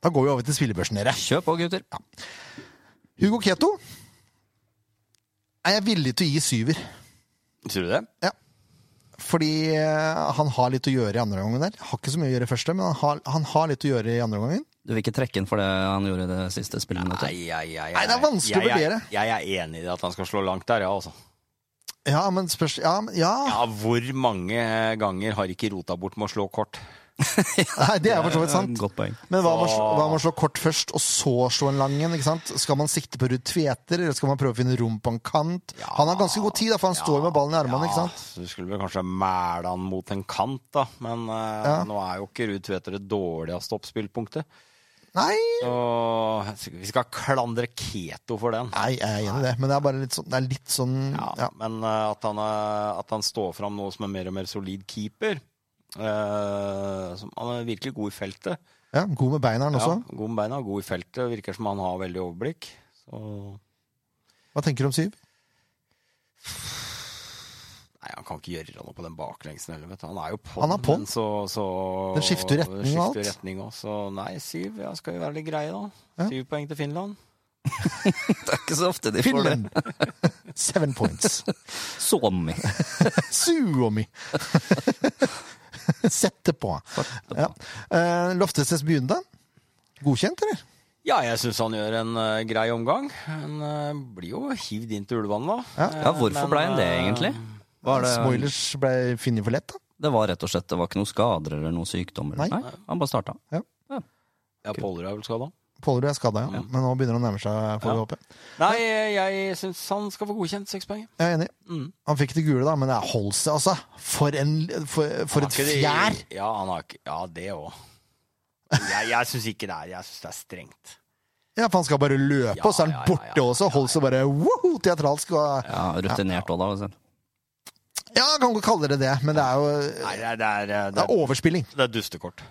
[SPEAKER 1] Da går vi over til spillebørsen, dere.
[SPEAKER 2] Kjør på, gutter.
[SPEAKER 1] Hugo Keto er jeg villig til å gi syver.
[SPEAKER 3] Tror du det?
[SPEAKER 1] Ja. Fordi eh, han har litt å gjøre i andre omgangen der. Har ikke så mye å gjøre i første, men han har, han har litt å gjøre i andre omgangen.
[SPEAKER 2] Du vil ikke trekke inn for det han gjorde i det siste spilleminuttet?
[SPEAKER 3] Nei, jeg, jeg,
[SPEAKER 1] Nei, det er vanskelig å
[SPEAKER 3] jeg-
[SPEAKER 1] vurdere.
[SPEAKER 3] Jeg, jeg er enig i det at han skal slå langt der, ja, altså.
[SPEAKER 1] Ja, men spørs... Ja, men, ja.
[SPEAKER 3] Ja, hvor mange eh, ganger har ikke rota bort med å slå kort?
[SPEAKER 1] Nei, det er for så vidt sant.
[SPEAKER 2] Godt poeng.
[SPEAKER 1] Men hva med å slå- hva med å slå kort først, og så slå en lang en? ikke sant? Skal man sikte på Ruud Tveter, eller skal man prøve å finne rom på en kant? Han har ganske god tid, da, for han står med ballen i armene. ikke sant?
[SPEAKER 3] så Du skulle vel kanskje mæle han mot en kant, da. Men eh,
[SPEAKER 1] Ja.
[SPEAKER 3] nå er jo ikke Ruud Tveter det dårligste oppspillpunktet.
[SPEAKER 1] Nei,
[SPEAKER 3] Og vi skal klandre Keto for den.
[SPEAKER 1] Nei, jeg er enig i det, men det er bare litt sånn, det er litt sånn
[SPEAKER 3] Ja,
[SPEAKER 1] ja.
[SPEAKER 3] Men eh, at, han, er- at han står fram nå som en mer og mer solid keeper eh, som, Han er virkelig god i feltet.
[SPEAKER 1] Ja, god med beina er han også.
[SPEAKER 3] Ja, god med beina, god i feltet. Virker som han har veldig overblikk. Så Nei,
[SPEAKER 1] Hva tenker du om Syv?
[SPEAKER 3] han kan ikke gjøre noe på den baklengsen heller, vet du. Han er jo på
[SPEAKER 1] Han er på den.
[SPEAKER 3] men så, så
[SPEAKER 1] Den skifter jo retning og
[SPEAKER 3] skifter
[SPEAKER 1] alt.
[SPEAKER 3] retning også. Så nei, syv. Ja, skal jo være litt greie, da.
[SPEAKER 1] Ja.
[SPEAKER 3] Syv poeng til Finland.
[SPEAKER 2] Det er ikke så ofte de får det.
[SPEAKER 1] Finland! Seven points.
[SPEAKER 2] Suomi.
[SPEAKER 1] Suomi! Sette på. Ja. Eh, Loftesnes begynte. Godkjent, eller?
[SPEAKER 3] Ja, jeg syns han gjør en eh, grei omgang. Han eh, blir jo hivd inn til ulvene, da. Eh,
[SPEAKER 2] Ja, hvorfor ble han det, egentlig? Var det,
[SPEAKER 1] Spoilers ble funnet for lett, da.
[SPEAKER 2] det var rett og slett det var ikke noen skader eller noen sykdommer.
[SPEAKER 1] Nei.
[SPEAKER 2] Nei, han bare starta.
[SPEAKER 3] Ja, Påler er vel skada.
[SPEAKER 1] Pålerud er skada, ja. Men nå begynner han å nærme seg, får vi
[SPEAKER 3] Ja.
[SPEAKER 1] håpe.
[SPEAKER 3] Nei, jeg syns han skal få godkjent seks poeng.
[SPEAKER 1] Jeg er enig.
[SPEAKER 3] Mm.
[SPEAKER 1] Han fikk det gule, da, men det er holdt seg, altså. For, en, for, for et
[SPEAKER 3] Har ikke de-
[SPEAKER 1] fjær!
[SPEAKER 3] Ja, han har ikke Ja, det òg. Jeg, jeg syns ikke det er Jeg syns det er strengt.
[SPEAKER 1] Ja, for han skal bare løpe,
[SPEAKER 3] Ja,
[SPEAKER 1] og så er han
[SPEAKER 3] ja, ja,
[SPEAKER 1] borte
[SPEAKER 3] ja,
[SPEAKER 1] også. Holdt seg bare woho, teatralsk. Og,
[SPEAKER 2] Ja, rutinert òg, da. altså.
[SPEAKER 1] ja, kan godt kalle det det, men det er jo
[SPEAKER 3] Nei, Mm, det er, det er,
[SPEAKER 1] det er overspilling.
[SPEAKER 3] det er dustekort.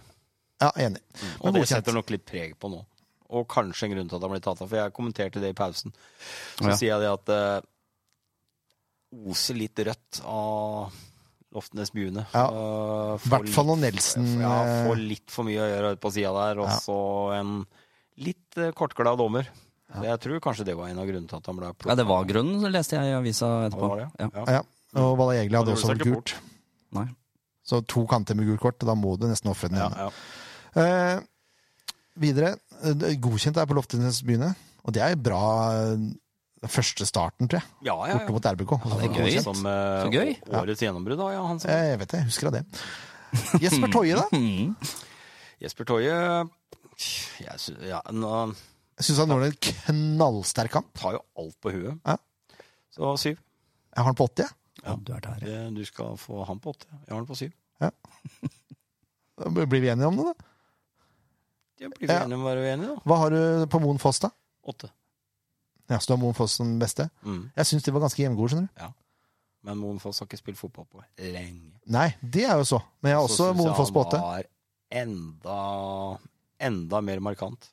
[SPEAKER 1] Ja, enig.
[SPEAKER 3] Og
[SPEAKER 1] Men
[SPEAKER 3] det
[SPEAKER 1] godkjent.
[SPEAKER 3] setter nok litt preg på nå. Og kanskje en grunn til at han blir tatt av, for jeg kommenterte det i pausen. Så
[SPEAKER 2] Ja.
[SPEAKER 3] sier jeg det at eh, oser litt rødt av Loftenes Bjune.
[SPEAKER 1] Ja.
[SPEAKER 3] Eh,
[SPEAKER 1] I
[SPEAKER 3] får
[SPEAKER 1] hvert fall
[SPEAKER 3] litt-
[SPEAKER 1] når Nelson
[SPEAKER 3] Ja,
[SPEAKER 1] eh,
[SPEAKER 3] får litt for mye å gjøre på sida der. Og
[SPEAKER 1] Ja.
[SPEAKER 3] så en litt eh, kortglad dommer. Så Jeg tror kanskje det var en av grunnene til at han ble
[SPEAKER 2] Ja, det var grunnen, så leste jeg i avisa etterpå.
[SPEAKER 3] var det, ja.
[SPEAKER 2] Ja.
[SPEAKER 3] Ja.
[SPEAKER 1] Ja, og Valla Jegli
[SPEAKER 3] Han
[SPEAKER 1] hadde
[SPEAKER 3] gjorde
[SPEAKER 1] også
[SPEAKER 3] seg
[SPEAKER 1] vel
[SPEAKER 3] ikke
[SPEAKER 1] gult.
[SPEAKER 2] Nei.
[SPEAKER 1] Så to kanter med gult kort, da må du nesten ofre den
[SPEAKER 3] Ja,
[SPEAKER 1] ene.
[SPEAKER 3] ja.
[SPEAKER 1] Eh, videre, eh, godkjent er på Loftenes byene, og det er jo bra eh, første starten, tror jeg,
[SPEAKER 3] ja, ja,
[SPEAKER 1] borte
[SPEAKER 3] ja.
[SPEAKER 1] mot RBK.
[SPEAKER 2] det er gøy.
[SPEAKER 3] Som, eh,
[SPEAKER 2] Så gøy.
[SPEAKER 3] Årets gjennombrudd, da. Ja, han som
[SPEAKER 1] Eh, Jeg vet det, jeg husker det. Jesper Toje, da?
[SPEAKER 2] Mm.
[SPEAKER 3] Jesper Toje jeg sy- ja, Han
[SPEAKER 1] Jeg syns han gjorde en knallsterk kamp.
[SPEAKER 3] tar jo alt på huet.
[SPEAKER 1] Ja.
[SPEAKER 3] Så syv.
[SPEAKER 1] Jeg har han på 80, jeg.
[SPEAKER 2] Ja, du er der.
[SPEAKER 3] Eh, Du skal få han på åtte. Jeg har han på syv.
[SPEAKER 1] Da Blir vi enige om det, da?
[SPEAKER 3] Det blir vi
[SPEAKER 1] Ja.
[SPEAKER 3] enige om å være uenige, da.
[SPEAKER 1] Hva har du på Moen Foss, da?
[SPEAKER 3] Åtte.
[SPEAKER 1] Ja, så du har Moen Foss som beste?
[SPEAKER 3] Mm.
[SPEAKER 1] Jeg syns de var ganske jevngode, skjønner du.
[SPEAKER 3] Men Moen Foss har ikke spilt fotball på lenge.
[SPEAKER 1] Nei, det er jo så. Men jeg har også
[SPEAKER 3] Så synes
[SPEAKER 1] Moen
[SPEAKER 3] jeg
[SPEAKER 1] Foss på 8.
[SPEAKER 3] Han var enda, enda mer markant.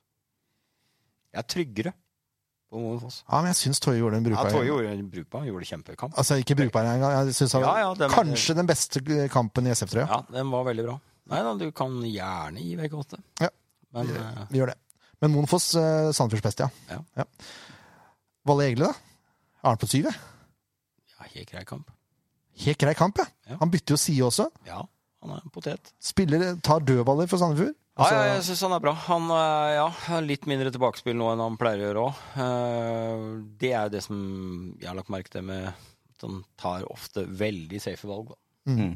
[SPEAKER 3] Jeg er tryggere på Moen Foss.
[SPEAKER 1] Ja, men jeg syns Toje gjorde en
[SPEAKER 3] Ja,
[SPEAKER 1] brukbar.
[SPEAKER 3] Toje gjorde en brukbar, han gjorde kjempekamp.
[SPEAKER 1] Altså ikke brukbar engang. Jeg synes han
[SPEAKER 3] Ja, ja, det-
[SPEAKER 1] Kanskje den beste kampen i SF-trøya.
[SPEAKER 3] Ja, den var veldig bra. Nei da, du kan gjerne gi vekk åtte.
[SPEAKER 1] Ja.
[SPEAKER 3] Men eh,
[SPEAKER 1] Vi gjør det. Men Moen Foss, eh, Sandefjords beste, ja.
[SPEAKER 3] Ja.
[SPEAKER 1] ja. Valle Egle, da? Er han på syv, ja?
[SPEAKER 3] ja, helt grei kamp.
[SPEAKER 1] Helt grei kamp, ja.
[SPEAKER 3] Ja.
[SPEAKER 1] Han bytter jo side også.
[SPEAKER 3] Ja, han er en potet.
[SPEAKER 1] Spiller, tar dødballer for Sandefjord.
[SPEAKER 3] Ja,
[SPEAKER 1] Altså,
[SPEAKER 3] ja, jeg syns han er bra. Han eh, ja, har litt mindre tilbakespill nå enn han pleier å gjøre òg. Det er jo det som jeg har lagt merke til med at han tar ofte veldig safe valg. Da.
[SPEAKER 2] Mm.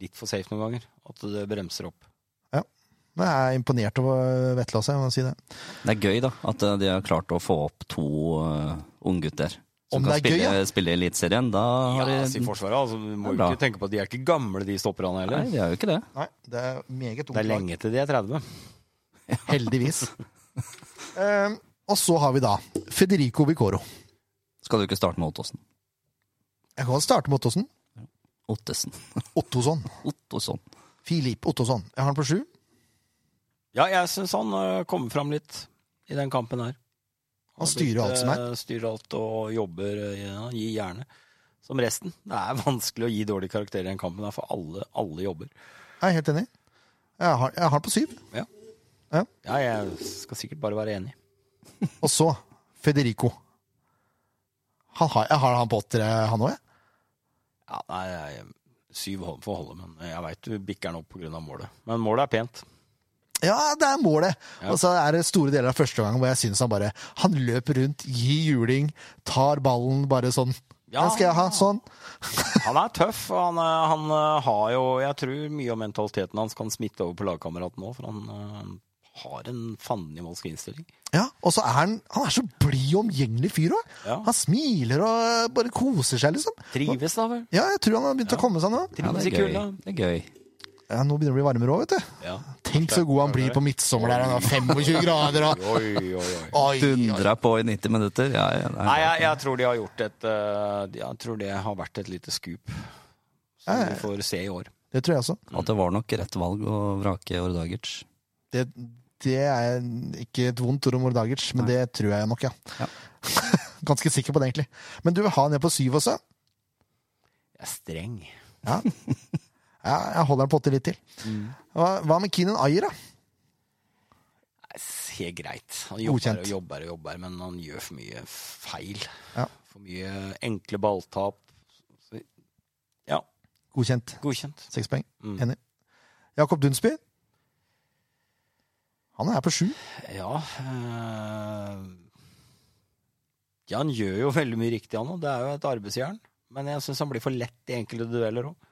[SPEAKER 3] Litt for safe noen ganger. At det bremser opp.
[SPEAKER 1] men jeg er imponert over Vetle også, jeg må si det.
[SPEAKER 2] Det er gøy, da, at eh, de har klart å få opp to uh, unggutter som
[SPEAKER 1] Om
[SPEAKER 2] kan
[SPEAKER 1] det er gøy,
[SPEAKER 2] spille, spille i Eliteserien. Da
[SPEAKER 3] Ja,
[SPEAKER 2] har de
[SPEAKER 3] sier Forsvaret. Altså, du
[SPEAKER 2] Det er
[SPEAKER 3] må jo
[SPEAKER 2] bra.
[SPEAKER 3] ikke tenke på at de er ikke gamle, de stopperne
[SPEAKER 2] Nei,
[SPEAKER 3] heller.
[SPEAKER 2] de er jo ikke det.
[SPEAKER 1] Nei, det er meget
[SPEAKER 3] Det er
[SPEAKER 1] lag.
[SPEAKER 3] lenge til de er 30.
[SPEAKER 1] Heldigvis. Eh, og så har vi da Federico Vicoro.
[SPEAKER 2] Skal du ikke starte med Ottosen?
[SPEAKER 1] Jeg kan starte med Ottosen.
[SPEAKER 2] Ottesen.
[SPEAKER 1] Ottosson.
[SPEAKER 2] Ottosson.
[SPEAKER 1] Filip Ottosson. Jeg har han på sju.
[SPEAKER 3] Ja, jeg syns han eh, kommer fram litt i den kampen her.
[SPEAKER 1] Han styrer alt som er.
[SPEAKER 3] eh, Styrer alt og jobber. eh, Ja, han gir gjerne. Som resten. Det er vanskelig å gi dårlige karakterer i den kampen, her, for alle, alle jobber.
[SPEAKER 1] Jeg er helt enig. Jeg har, jeg har han på syv.
[SPEAKER 3] Ja, jeg skal sikkert bare være enig.
[SPEAKER 1] Og så Federico. Han har, jeg har han på åttere, han òg, jeg.
[SPEAKER 3] Ja, nei, jeg, Syv hold- får holde, men jeg veit du bikker den opp pga. målet. Men målet er pent.
[SPEAKER 1] Ja, det er målet!
[SPEAKER 3] Ja.
[SPEAKER 1] Og så er det store deler av første gangen hvor jeg syns han bare Han løper rundt, gir juling, tar ballen bare sånn.
[SPEAKER 3] Ja.
[SPEAKER 1] Den skal jeg ha, sånn.
[SPEAKER 3] Han er tøff. og Han, eh, han eh, har jo Jeg tror mye av mentaliteten hans kan smitte over på lagkameraten òg, for han eh, har en fandenivoldsk innstilling.
[SPEAKER 1] Ja, Og så er han Han er så blid og omgjengelig fyr òg.
[SPEAKER 3] Ja.
[SPEAKER 1] Han smiler og bare koser seg, liksom.
[SPEAKER 3] Trives, da vel.
[SPEAKER 1] Ja, jeg tror han har begynt å komme seg nå.
[SPEAKER 2] Ja,
[SPEAKER 3] Trives
[SPEAKER 2] det
[SPEAKER 3] i
[SPEAKER 2] er gøy.
[SPEAKER 3] kulda.
[SPEAKER 2] Det er gøy.
[SPEAKER 1] Ja, Nå begynner det å bli varmere òg, vet du.
[SPEAKER 3] Ja.
[SPEAKER 1] Tenk så god han blir på midtsommer der han har 25 grader og
[SPEAKER 3] Oi, oi, oi.
[SPEAKER 1] Oi, oi.
[SPEAKER 2] Dundra på i 90 minutter. Ja, ja, det er
[SPEAKER 3] Nei,
[SPEAKER 2] bra.
[SPEAKER 3] jeg, jeg tror de har gjort et eh, Jeg tror det har vært et lite skup. Som vi får se i år.
[SPEAKER 1] Det tror jeg også.
[SPEAKER 2] At det var nok rett valg å vrake Ordagic.
[SPEAKER 1] Det, det er ikke et vondt ord om Mordagic, men det tror jeg nok, ja.
[SPEAKER 2] Ja.
[SPEAKER 1] Ganske sikker på det, egentlig. Men du vil ha den ned på syv også?
[SPEAKER 3] Jeg er streng.
[SPEAKER 1] Ja. ja jeg holder den på åtte litt til. Hva, hva med Keenan Ayer, da?
[SPEAKER 3] Nei, Helt greit. Han jobber
[SPEAKER 1] Godkjent.
[SPEAKER 3] og jobber og jobber, men han gjør for mye feil.
[SPEAKER 1] Ja.
[SPEAKER 3] For mye enkle balltap. Så- Ja,
[SPEAKER 1] Godkjent.
[SPEAKER 3] godkjent.
[SPEAKER 1] Seks poeng.
[SPEAKER 3] Mm.
[SPEAKER 1] Enig. Jakob Dunsby? Han er her på sju.
[SPEAKER 3] Ja eh, Ja, han gjør jo veldig mye riktig, han òg. Det er jo et arbeidsjern. Men jeg syns han blir for lett i enkelte dueller òg.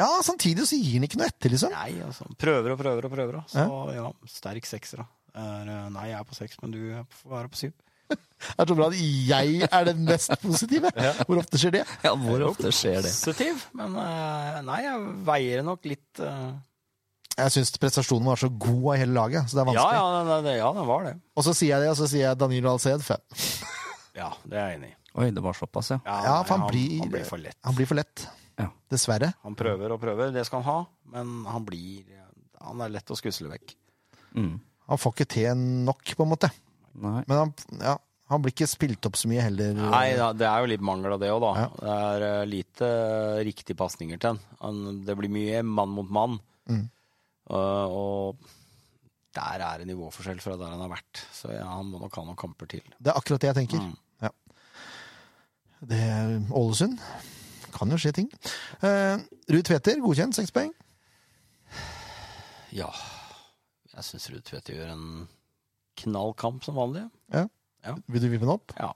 [SPEAKER 1] Ja, samtidig så gir han ikke noe etter, liksom.
[SPEAKER 3] Nei, altså. han Prøver og prøver og prøver. da. Så ja, sterk sekser, da. Er, eh, nei, jeg er på seks, men du er på- får være på syv.
[SPEAKER 1] Det er så bra at jeg er den mest positive. Hvor ofte skjer det?
[SPEAKER 2] Ja, hvor ofte skjer det?
[SPEAKER 3] Positiv, men eh, nei, jeg veier nok litt eh,
[SPEAKER 1] Jeg syns prestasjonen var så god av hele laget, så det er
[SPEAKER 3] Ja,
[SPEAKER 1] vanskelig.
[SPEAKER 3] ja, den- den- ja, den var det.
[SPEAKER 1] Og så sier jeg det, og så sier jeg Danilo Alced fem.
[SPEAKER 3] Ja, det er jeg enig i.
[SPEAKER 2] Oi, det var såpass, ja.
[SPEAKER 1] Ja, for han blir-
[SPEAKER 3] han blir for lett.
[SPEAKER 1] Han blir for lett.
[SPEAKER 2] Ja.
[SPEAKER 1] Dessverre.
[SPEAKER 3] Han prøver og prøver, det skal han ha, men han blir Han er lett å skusle vekk.
[SPEAKER 2] Mm.
[SPEAKER 1] Han får ikke til nok, på en måte.
[SPEAKER 2] Nei.
[SPEAKER 1] Men han, ja, han blir ikke spilt opp så mye heller.
[SPEAKER 3] Nei, ja, det er jo litt mangel av det òg, da. Det er eh, lite eh, riktige pasninger til han. han. Det blir mye mann mot mann.
[SPEAKER 1] Mm.
[SPEAKER 3] Eh, og der er det nivåforskjell fra der han har vært, så ja, han må nok ha noen kamper til.
[SPEAKER 1] Det er akkurat det jeg tenker.
[SPEAKER 3] Mm.
[SPEAKER 1] Det er Ålesund. Kan jo skje ting. Eh, Ruud Tveter, godkjent, seks poeng.
[SPEAKER 3] Ja. Jeg syns Ruud Tvedte gjør en knallkamp som vanlig.
[SPEAKER 1] Vil du vippe den opp?
[SPEAKER 3] Ja.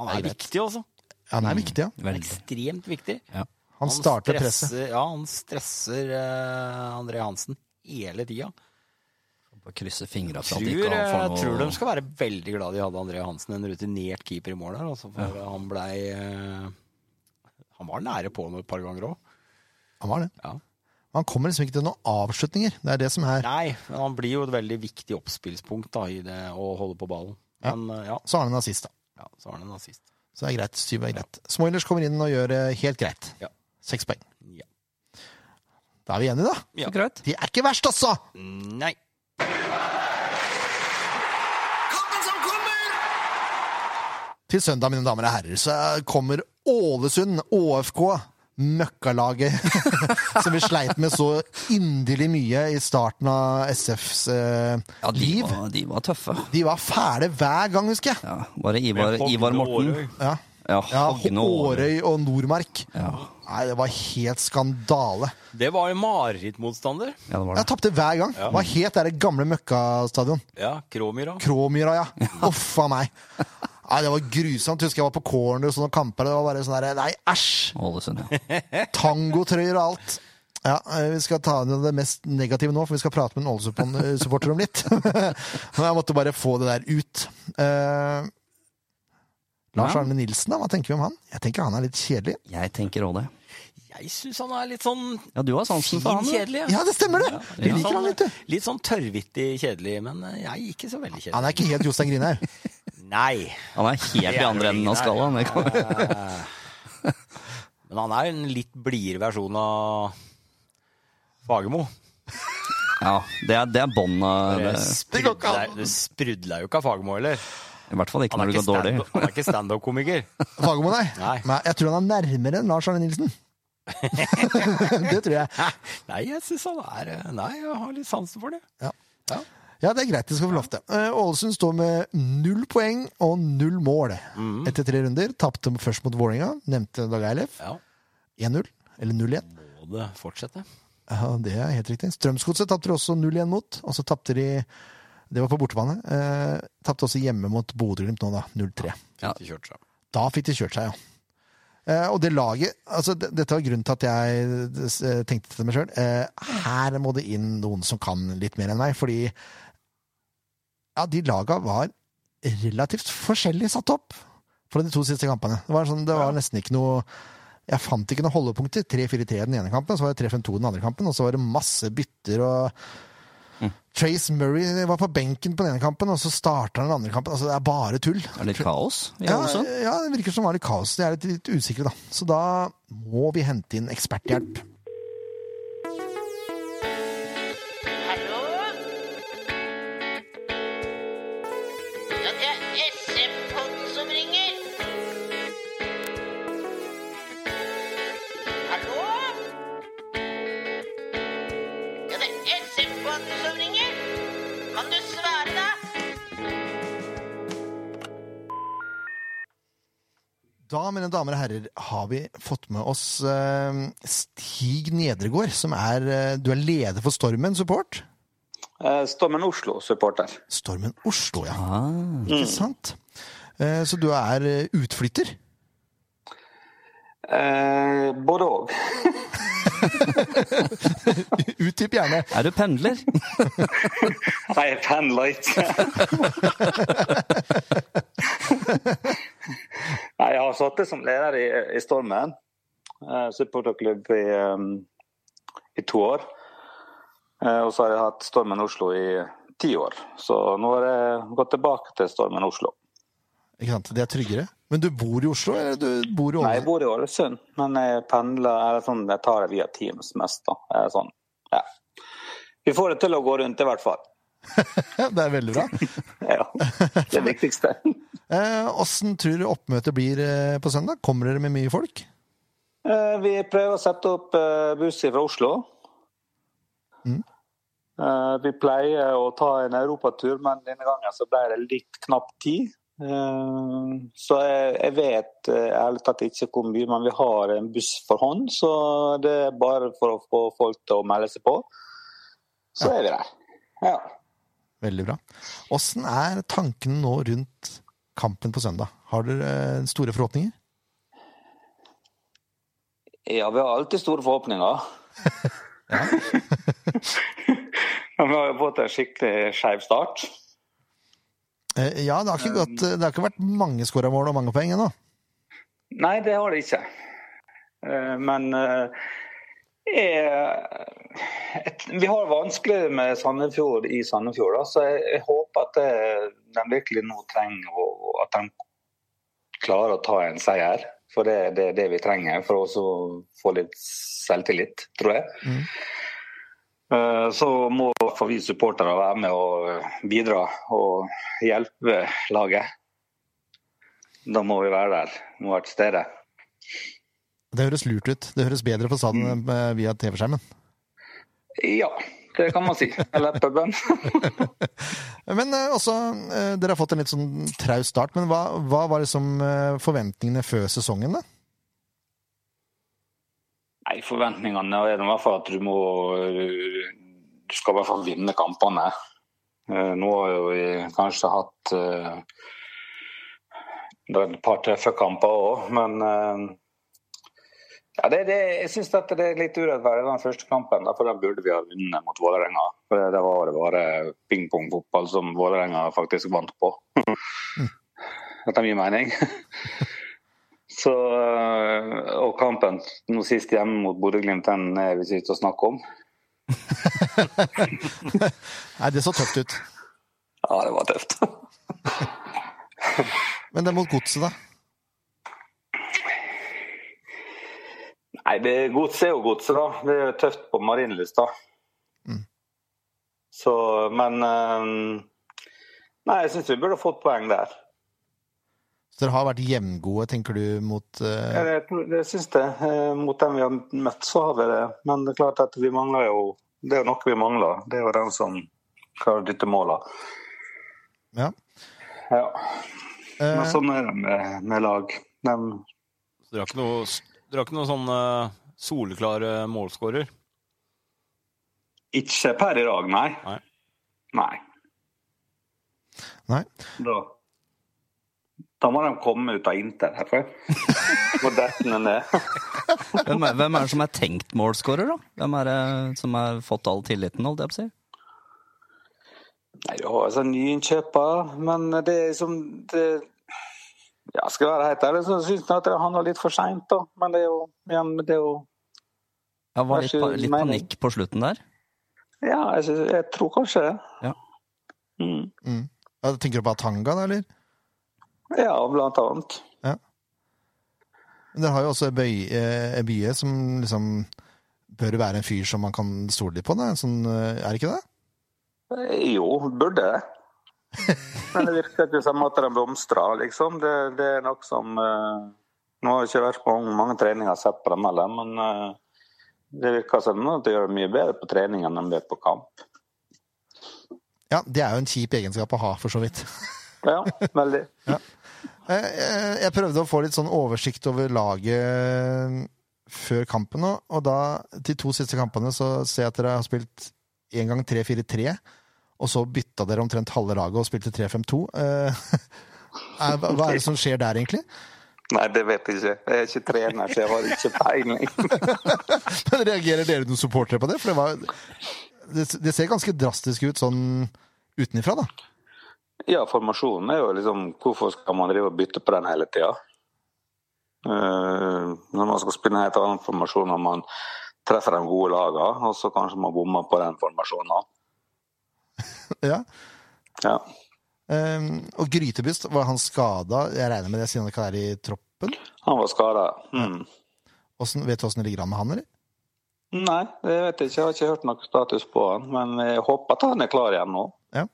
[SPEAKER 3] Han
[SPEAKER 1] Det er
[SPEAKER 3] er
[SPEAKER 1] greit.
[SPEAKER 3] viktig, altså.
[SPEAKER 1] Ja, den er viktig, ja.
[SPEAKER 3] Han er
[SPEAKER 2] Veldig.
[SPEAKER 3] ekstremt viktig.
[SPEAKER 1] Han starter presset.
[SPEAKER 3] stresser- Ja, han stresser eh, André Hansen hele tida.
[SPEAKER 2] Bare krysse fingra for
[SPEAKER 3] Tror,
[SPEAKER 2] at ikke han får
[SPEAKER 3] eh,
[SPEAKER 2] noe
[SPEAKER 3] tror de skal være veldig glad de hadde André Hansen, en rutinert keeper i mål der. Altså, for han blei eh, Han var nære på noe et par ganger òg.
[SPEAKER 1] Han var det.
[SPEAKER 3] Ja.
[SPEAKER 1] Han kommer liksom ikke til noen avslutninger. Det er det som er.
[SPEAKER 3] Nei, men han blir jo et veldig viktig oppspillspunkt da, i det å holde på ballen.
[SPEAKER 1] Ja.
[SPEAKER 3] Men eh, ja,
[SPEAKER 1] Så har han en assist, da.
[SPEAKER 3] ja så har han en nazist.
[SPEAKER 1] Så det er greit. Syv er greit. Smoilers kommer inn og gjør det helt greit.
[SPEAKER 3] Ja.
[SPEAKER 1] Seks poeng.
[SPEAKER 3] Ja.
[SPEAKER 1] Da er vi enige, da.
[SPEAKER 3] Ja.
[SPEAKER 2] Så greit.
[SPEAKER 1] De er ikke verst, altså!
[SPEAKER 3] Nei.
[SPEAKER 4] Kampen som kommer!
[SPEAKER 1] Til søndag, mine damer og herrer, så kommer Ålesund, ÅFK, møkkalaget som vi sleit med så inderlig mye i starten av SFs eh,
[SPEAKER 2] Ja, de
[SPEAKER 1] liv.
[SPEAKER 2] var, de var tøffe.
[SPEAKER 1] De var fæle hver gang, husker jeg.
[SPEAKER 2] Ja, bare Ivar, Ivar Morten.
[SPEAKER 1] Ja,
[SPEAKER 2] Ja,
[SPEAKER 1] ja
[SPEAKER 2] Hogne Aarøy.
[SPEAKER 1] Årøy og Nordmark.
[SPEAKER 2] Ja.
[SPEAKER 1] Nei, det var helt skandale.
[SPEAKER 3] Det var jo marerittmotstander.
[SPEAKER 2] ja, det var
[SPEAKER 1] Jeg
[SPEAKER 2] det.
[SPEAKER 1] tapte hver gang. Hva het det der gamle møkkastadion?
[SPEAKER 3] Ja, Kråmyra.
[SPEAKER 1] Kråmyra, ja. Uff a meg. Nei, det var grusomt. Husker jeg var på corner og sånne kamper. Det var bare sånn der, Nei, æsj!
[SPEAKER 2] Ålesund, ja.
[SPEAKER 1] Tangotrøyer og alt. Ja, eh, Vi skal ta ned det mest negative nå, for vi skal prate med en Ålesund-supporter om litt. Men jeg måtte bare få det der ut. Eh, Lars
[SPEAKER 2] Ja.
[SPEAKER 1] Arne Nilsen, da, hva tenker vi om han? Jeg tenker han er litt kjedelig.
[SPEAKER 2] Jeg tenker òg det.
[SPEAKER 3] Jeg syns han er litt sånn
[SPEAKER 2] Ja, du har sansen for
[SPEAKER 3] fin,
[SPEAKER 2] han. du.
[SPEAKER 3] kjedelig. ja.
[SPEAKER 1] Ja, det stemmer, det! Vi
[SPEAKER 3] Litt
[SPEAKER 1] liker
[SPEAKER 3] sånn-
[SPEAKER 1] han litt, du.
[SPEAKER 3] Litt sånn tørrvittig kjedelig, men eh, jeg er ikke så veldig kjedelig.
[SPEAKER 1] Han er ikke helt Jostein Grinhaug.
[SPEAKER 3] Nei.
[SPEAKER 2] Han er helt i andre enden av skalaen. det kan-
[SPEAKER 3] Eh, Men han er en litt blidere versjon av Fagermo.
[SPEAKER 2] Ja, det er, det er bånd av
[SPEAKER 3] Det
[SPEAKER 2] det-
[SPEAKER 1] det går ikke an.
[SPEAKER 3] sprudler- det sprudla jo ikke av Fagermo heller.
[SPEAKER 2] I hvert fall ikke
[SPEAKER 3] Han er
[SPEAKER 2] når det
[SPEAKER 3] ikke
[SPEAKER 2] går dårlig.
[SPEAKER 3] stand- han er ikke standup-komiker.
[SPEAKER 1] Fagermo, nei.
[SPEAKER 3] Nei.
[SPEAKER 1] nei. Jeg tror han er nærmere enn Lars Arne Nilsen. det tror jeg.
[SPEAKER 3] Nei, jeg syns han er eh, Nei, jeg har litt sansen for det.
[SPEAKER 1] Ja, det er greit. Det skal få lov til. Eh, Ålesund står med null poeng og null mål etter tre runder. Tapte først mot Vålerenga, nevnte Dag Eilef.
[SPEAKER 3] Ja.
[SPEAKER 1] 1-0. Eller 0-1.
[SPEAKER 3] Må det fortsette?
[SPEAKER 1] Ja, det er helt riktig. Strømsgodset tapte de også 0-1 mot. Og så tapte de Det var på bortebane. Eh, tapte også hjemme mot Bodø-Glimt nå, da. 0-3.
[SPEAKER 2] Ja.
[SPEAKER 3] Ikke kjørt seg.
[SPEAKER 1] Da fikk de kjørt seg, ja. Eh, og det laget altså, d- Dette var grunnen til at jeg eh, tenkte til meg sjøl. Eh, her må det inn noen som kan litt mer enn meg, fordi Ja, de laga var relativt forskjellig satt opp for de to siste kampene. Det var, sånn, det var nesten ikke noe Jeg fant ikke noen holdepunkter. 3-4-3 den ene kampen, så var det 3-5-2 den andre kampen, og så var det masse bytter og Trace Murray var på benken på den ene kampen, og så starter han den andre kampen. Altså, det er bare tull.
[SPEAKER 2] Det er litt kaos i
[SPEAKER 1] Ja,
[SPEAKER 2] Ålesund.
[SPEAKER 1] ja, det virker som det var litt kaos. De er litt, litt usikre, da. Så da må vi hente inn eksperthjelp.
[SPEAKER 5] Hallo? Ja, det er SM-podden som ringer. Hallo? Ja, det er SM-podden som ringer. Kan du svare, da?
[SPEAKER 1] Da, mine damer og herrer, har vi fått med oss eh, Stig Nedregård, som er eh, Du er leder for Stormen support.
[SPEAKER 6] Eh, Stormen Oslo-supporter.
[SPEAKER 1] Stormen Oslo, ja.
[SPEAKER 2] Ah,
[SPEAKER 6] Mm.
[SPEAKER 1] Ikke sant? Eh, så du er eh, utflytter?
[SPEAKER 6] Eh, både òg.
[SPEAKER 1] Utdyp gjerne.
[SPEAKER 2] er du pendler?
[SPEAKER 6] Nei, jeg pendler ikke. Nei, jeg har sittet som leder i, i Stormen, eh, supporterklubb i, eh, i to år. Eh, og så har jeg hatt Stormen Oslo i ti år. Så nå har jeg gått tilbake til Stormen Oslo.
[SPEAKER 1] Ikke sant? Det er tryggere. Men du bor i Oslo, eller du bor i
[SPEAKER 6] Nei, jeg
[SPEAKER 1] Ålesund?
[SPEAKER 6] bor i Ålesund, men jeg pendler eller sånn, Jeg tar det via Teams mest, da. Eh, Sånn. Ja. Vi får det til å gå rundt, i hvert fall.
[SPEAKER 1] Det er veldig bra.
[SPEAKER 6] Ja, det er viktigste.
[SPEAKER 1] Eh, Åssen tror du oppmøtet blir eh, på søndag? Kommer dere med mye folk?
[SPEAKER 6] Eh, Vi prøver å sette opp eh, buss fra Oslo.
[SPEAKER 1] Mm.
[SPEAKER 6] Eh, Vi pleier å ta en europatur, men denne gangen så ble det litt knapp tid. Eh, Så jeg, jeg vet eh, ærlig talt ikke hvor mye, men vi har en buss for hånd. Så det er bare for å få folk til å melde seg på. Så er vi der. Ja.
[SPEAKER 1] Veldig bra. Åssen er tankene nå rundt kampen på søndag? Har dere eh, store forhåpninger?
[SPEAKER 6] Ja, vi har alltid store forhåpninger. Men vi har jo fått en skikkelig skeiv start.
[SPEAKER 1] Eh, ja, det har, ikke gått, det har ikke vært mange skåramål og mange poeng ennå.
[SPEAKER 6] Nei, det har det ikke. Eh, Men eh, jeg, et- vi har vanskelig med Sandefjord i Sandefjord, da, så jeg, jeg håper at eh, de virkelig nå trenger å, at de klarer å ta en seier. For det det er det, vi trenger for å også få litt selvtillit, tror jeg.
[SPEAKER 1] Mm.
[SPEAKER 6] Eh, Så må i hvert fall vi supportere være med og bidra og hjelpe laget. Da må vi være der, må være til stede.
[SPEAKER 1] Det høres lurt ut. Det høres bedre for salen enn eh, via TV-skjermen.
[SPEAKER 6] Ja, det kan man si. Eller puben.
[SPEAKER 1] Men eh, også, eh, dere har fått en litt sånn traust start, men hva, hva var liksom eh, forventningene før sesongen, da?
[SPEAKER 6] Nei, forventningene er i hvert fall at du må Du skal i hvert fall vinne kampene. Eh, Nå har jo vi kanskje hatt eh, det er et par tøffe kamper òg, men eh, ja, det, det, jeg syns det er litt urettferdig den første kampen. da, For den burde vi ha vunnet mot Vålerenga. For det- Det var det bare pingpongfotball som Vålerenga faktisk vant på. Dette gir mening. Så, øh, og kampen nå sist hjemme mot Bodø-Glimt, den er vi ikke ute å snakke om.
[SPEAKER 1] Nei, det så tøft ut.
[SPEAKER 6] Ja, det var tøft.
[SPEAKER 1] Men det mot godset, da?
[SPEAKER 6] Nei, det er gods er jo gods, da. Det er jo tøft på Marienlyst, da.
[SPEAKER 1] Mm.
[SPEAKER 6] Så, men øh, Nei, jeg syns vi burde fått poeng der.
[SPEAKER 1] Så dere har vært jevngode, tenker du, mot eh,
[SPEAKER 6] Jeg, jeg, jeg syns det. Eh, Mot dem vi har møtt, så har vi det. Men det er klart at vi mangler jo Det er jo noe vi mangler. Det er jo den som klarer å dytte måla.
[SPEAKER 1] Ja.
[SPEAKER 6] Ja. Men
[SPEAKER 1] eh,
[SPEAKER 6] sånn er det med, med lag. De
[SPEAKER 3] Så dere har ikke noe, dere har ikke noe sånn eh, Soleklar eh, målskårer.
[SPEAKER 6] Ikke per i dag, nei.
[SPEAKER 3] Nei.
[SPEAKER 6] Nei.
[SPEAKER 1] Nei.
[SPEAKER 6] Da, da må de komme ut av Inter herfra. Og dette ned.
[SPEAKER 2] Hvem er, hvem er det som er tenkt målskårer, da? Hvem er det som har fått all tilliten, holdt jeg på å si?
[SPEAKER 6] Nei, du har altså nyinnkjøper, men det er som det, Ja, skal jeg være helt ærlig, så syns jeg at det handler litt for seint, da. Men det er jo igjen, det er jo
[SPEAKER 2] Ja, var litt,
[SPEAKER 6] Kanskje
[SPEAKER 2] pa- litt
[SPEAKER 6] mening.
[SPEAKER 2] panikk på slutten der.
[SPEAKER 6] Ja, jeg, synes, jeg tror kanskje det.
[SPEAKER 2] Ja.
[SPEAKER 6] Mm.
[SPEAKER 1] Ja, tenker du på Atanga, da, eller?
[SPEAKER 6] ja, blant annet.
[SPEAKER 1] Men Dere har jo også Ebye, Ebye som liksom bør være en fyr som man kan stole litt på. Da. En Sånn, eh, er det ikke det?
[SPEAKER 6] Eh, Jo, burde det. Men det virker ikke som at den blomstrer, liksom. Det, det er noe som eh, Nå har jeg ikke vært på mange, mange treninger og sett på dem heller, men eh, det virker som at de gjør det mye bedre på trening enn de gjør på kamp.
[SPEAKER 1] Ja, Det er jo en kjip egenskap å ha, for så vidt.
[SPEAKER 6] Ja, veldig.
[SPEAKER 1] Eh, eh, Jeg prøvde å få litt sånn oversikt over laget eh, før kampen nå, og da, de to siste kampene, så ser jeg at dere har spilt én gang 3-4-3, og så bytta dere omtrent halve laget og spilte 3-5-2. Eh, er- Hva er det som skjer der, egentlig?
[SPEAKER 6] Nei, det vet jeg ikke. Jeg er ikke trener, så jeg har ikke peiling.
[SPEAKER 1] Men reagerer dere noen supportere på det? For det, var, det, det ser ganske drastisk ut sånn utenifra, da.
[SPEAKER 6] Ja, formasjonen er jo liksom Hvorfor skal man drive og bytte på den hele tida? Eh, når man skal spille en helt annen formasjon og man treffer de gode lagene, og så kanskje man bommer på den formasjonen.
[SPEAKER 1] Ja.
[SPEAKER 6] Ja.
[SPEAKER 1] Ehm, og Grytebyst, var han skada? Jeg regner med det siden han ikke er i troppen?
[SPEAKER 6] Han var skada. Mm.
[SPEAKER 1] Hvordan, vet du åssen det ligger an med han, eller?
[SPEAKER 6] Nei, det vet jeg ikke. Jeg har ikke hørt noe status på han. Men jeg håper at han er klar igjen nå.
[SPEAKER 1] Ja.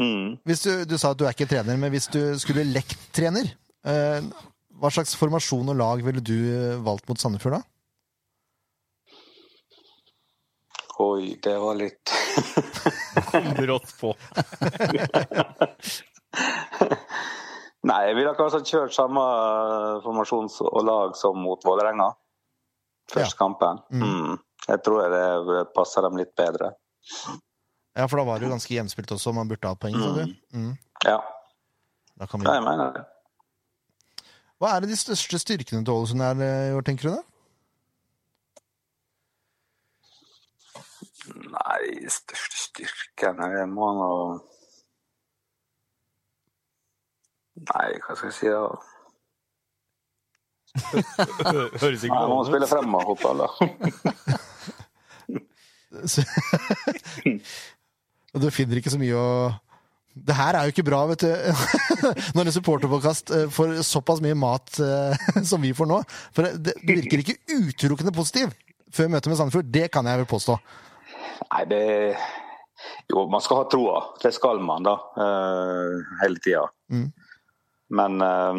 [SPEAKER 6] Mm.
[SPEAKER 1] Hvis du, du sa at du er ikke trener, men hvis du skulle lekt trener, eh, hva slags formasjon og lag ville du eh, valgt mot Sandefjord da?
[SPEAKER 6] Oi, det var litt
[SPEAKER 3] Rått på.
[SPEAKER 6] Nei, jeg ville kanskje ha kjørt samme eh, formasjons- og lag som mot Vålerenga. Første kampen. Mm. Jeg tror det passer dem litt bedre.
[SPEAKER 1] Ja, for da var det jo ganske jevnspilt også, man burde ha poeng, sa du. Mm.
[SPEAKER 6] Ja,
[SPEAKER 1] Da kan vi...
[SPEAKER 6] jeg mener det.
[SPEAKER 1] Hva er det de største styrkene til Ålesund er eh, i år, tenker du da?
[SPEAKER 6] Nei, største styrken er det må nå Nei, hva skal jeg si da?
[SPEAKER 3] Hø- Høres ikke
[SPEAKER 6] Nei, jeg må
[SPEAKER 3] lovende ut.
[SPEAKER 6] spille fremoverfotball, da.
[SPEAKER 1] Så... Og du finner ikke så mye å Det her er jo ikke bra, vet du. Når en supporterpåkast eh, får såpass mye mat eh, som vi får nå. For det det virker ikke utelukkende positiv før møtet med Sandefjord. Det kan jeg vel påstå.
[SPEAKER 6] Nei, det Jo, man skal ha troa. Det skal man, da. eh, hele tida.
[SPEAKER 1] Mm.
[SPEAKER 6] Men eh,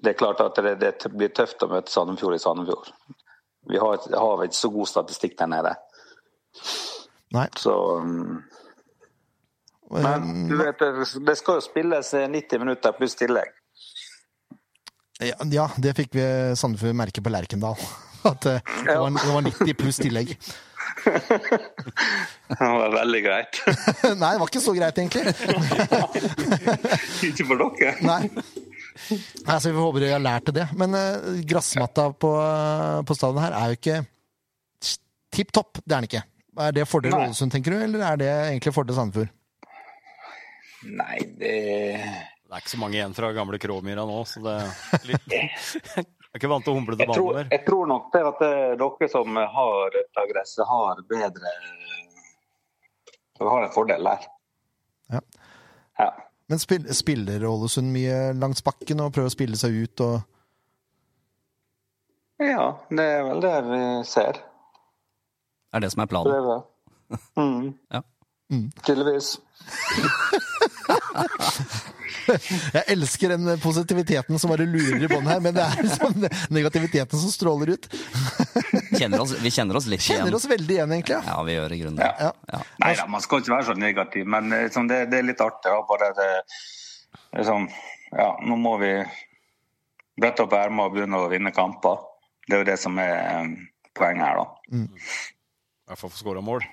[SPEAKER 6] det er klart at det, det blir tøft å møte Sandefjord i Sandefjord. Vi har, har vel ikke så god statistikk der nede.
[SPEAKER 1] Nei.
[SPEAKER 6] Så mm, Men
[SPEAKER 1] Eh,
[SPEAKER 6] du vet, det- det skal jo spilles 90 minutter pluss tillegg.
[SPEAKER 1] Eh, Ja, ja, det fikk vi Sandefjord merke på Lerkendal. At eh, det var, det var 90 pluss tillegg.
[SPEAKER 6] Det var veldig greit.
[SPEAKER 1] Nei, det var ikke så greit, egentlig.
[SPEAKER 6] Ikke for dere.
[SPEAKER 1] Nei. Nei, så Vi får håpe de har lært det. Men eh, grassmatta på, eh, på stadion her er jo ikke tipp topp. Det er den ikke. Er det fordel
[SPEAKER 6] Nei.
[SPEAKER 1] Ålesund, tenker du, eller er det egentlig fordel Sandefjord?
[SPEAKER 6] Nei, det
[SPEAKER 3] Det er ikke så mange igjen fra gamle Kråmyra nå, så det er litt... Jeg er ikke vant til å humle til
[SPEAKER 6] jeg tror,
[SPEAKER 3] banen mer.
[SPEAKER 6] jeg tror nok det at eh, dere som har dette gresset, har bedre Dere har en fordel der.
[SPEAKER 1] Ja.
[SPEAKER 6] Ja.
[SPEAKER 1] Men spill, spiller Ålesund mye langs bakken og prøver å spille seg ut og
[SPEAKER 6] ja, det er vel det vi ser.
[SPEAKER 2] Det er det som er
[SPEAKER 6] Det
[SPEAKER 2] planen.
[SPEAKER 6] er det. Mm.
[SPEAKER 2] Ja.
[SPEAKER 6] Tydeligvis.
[SPEAKER 1] Jeg elsker den positiviteten som bare lurer i bånn her, men det er liksom negativiteten som stråler ut.
[SPEAKER 2] Kjenner oss, vi kjenner oss litt
[SPEAKER 1] Kjenner
[SPEAKER 2] igjen.
[SPEAKER 1] oss veldig igjen, egentlig. ja.
[SPEAKER 2] Ja, vi gjør i grunnen det.
[SPEAKER 1] Ja.
[SPEAKER 2] Ja.
[SPEAKER 6] Nei da, man skal ikke være så negativ, men eh, liksom, det, det er litt artig. Da, bare det, sånn, liksom, ja, nå må vi brette opp ermene og begynne å vinne kamper. Det er jo det som er eh, poenget her, da.
[SPEAKER 3] I hvert fall få skåra mål.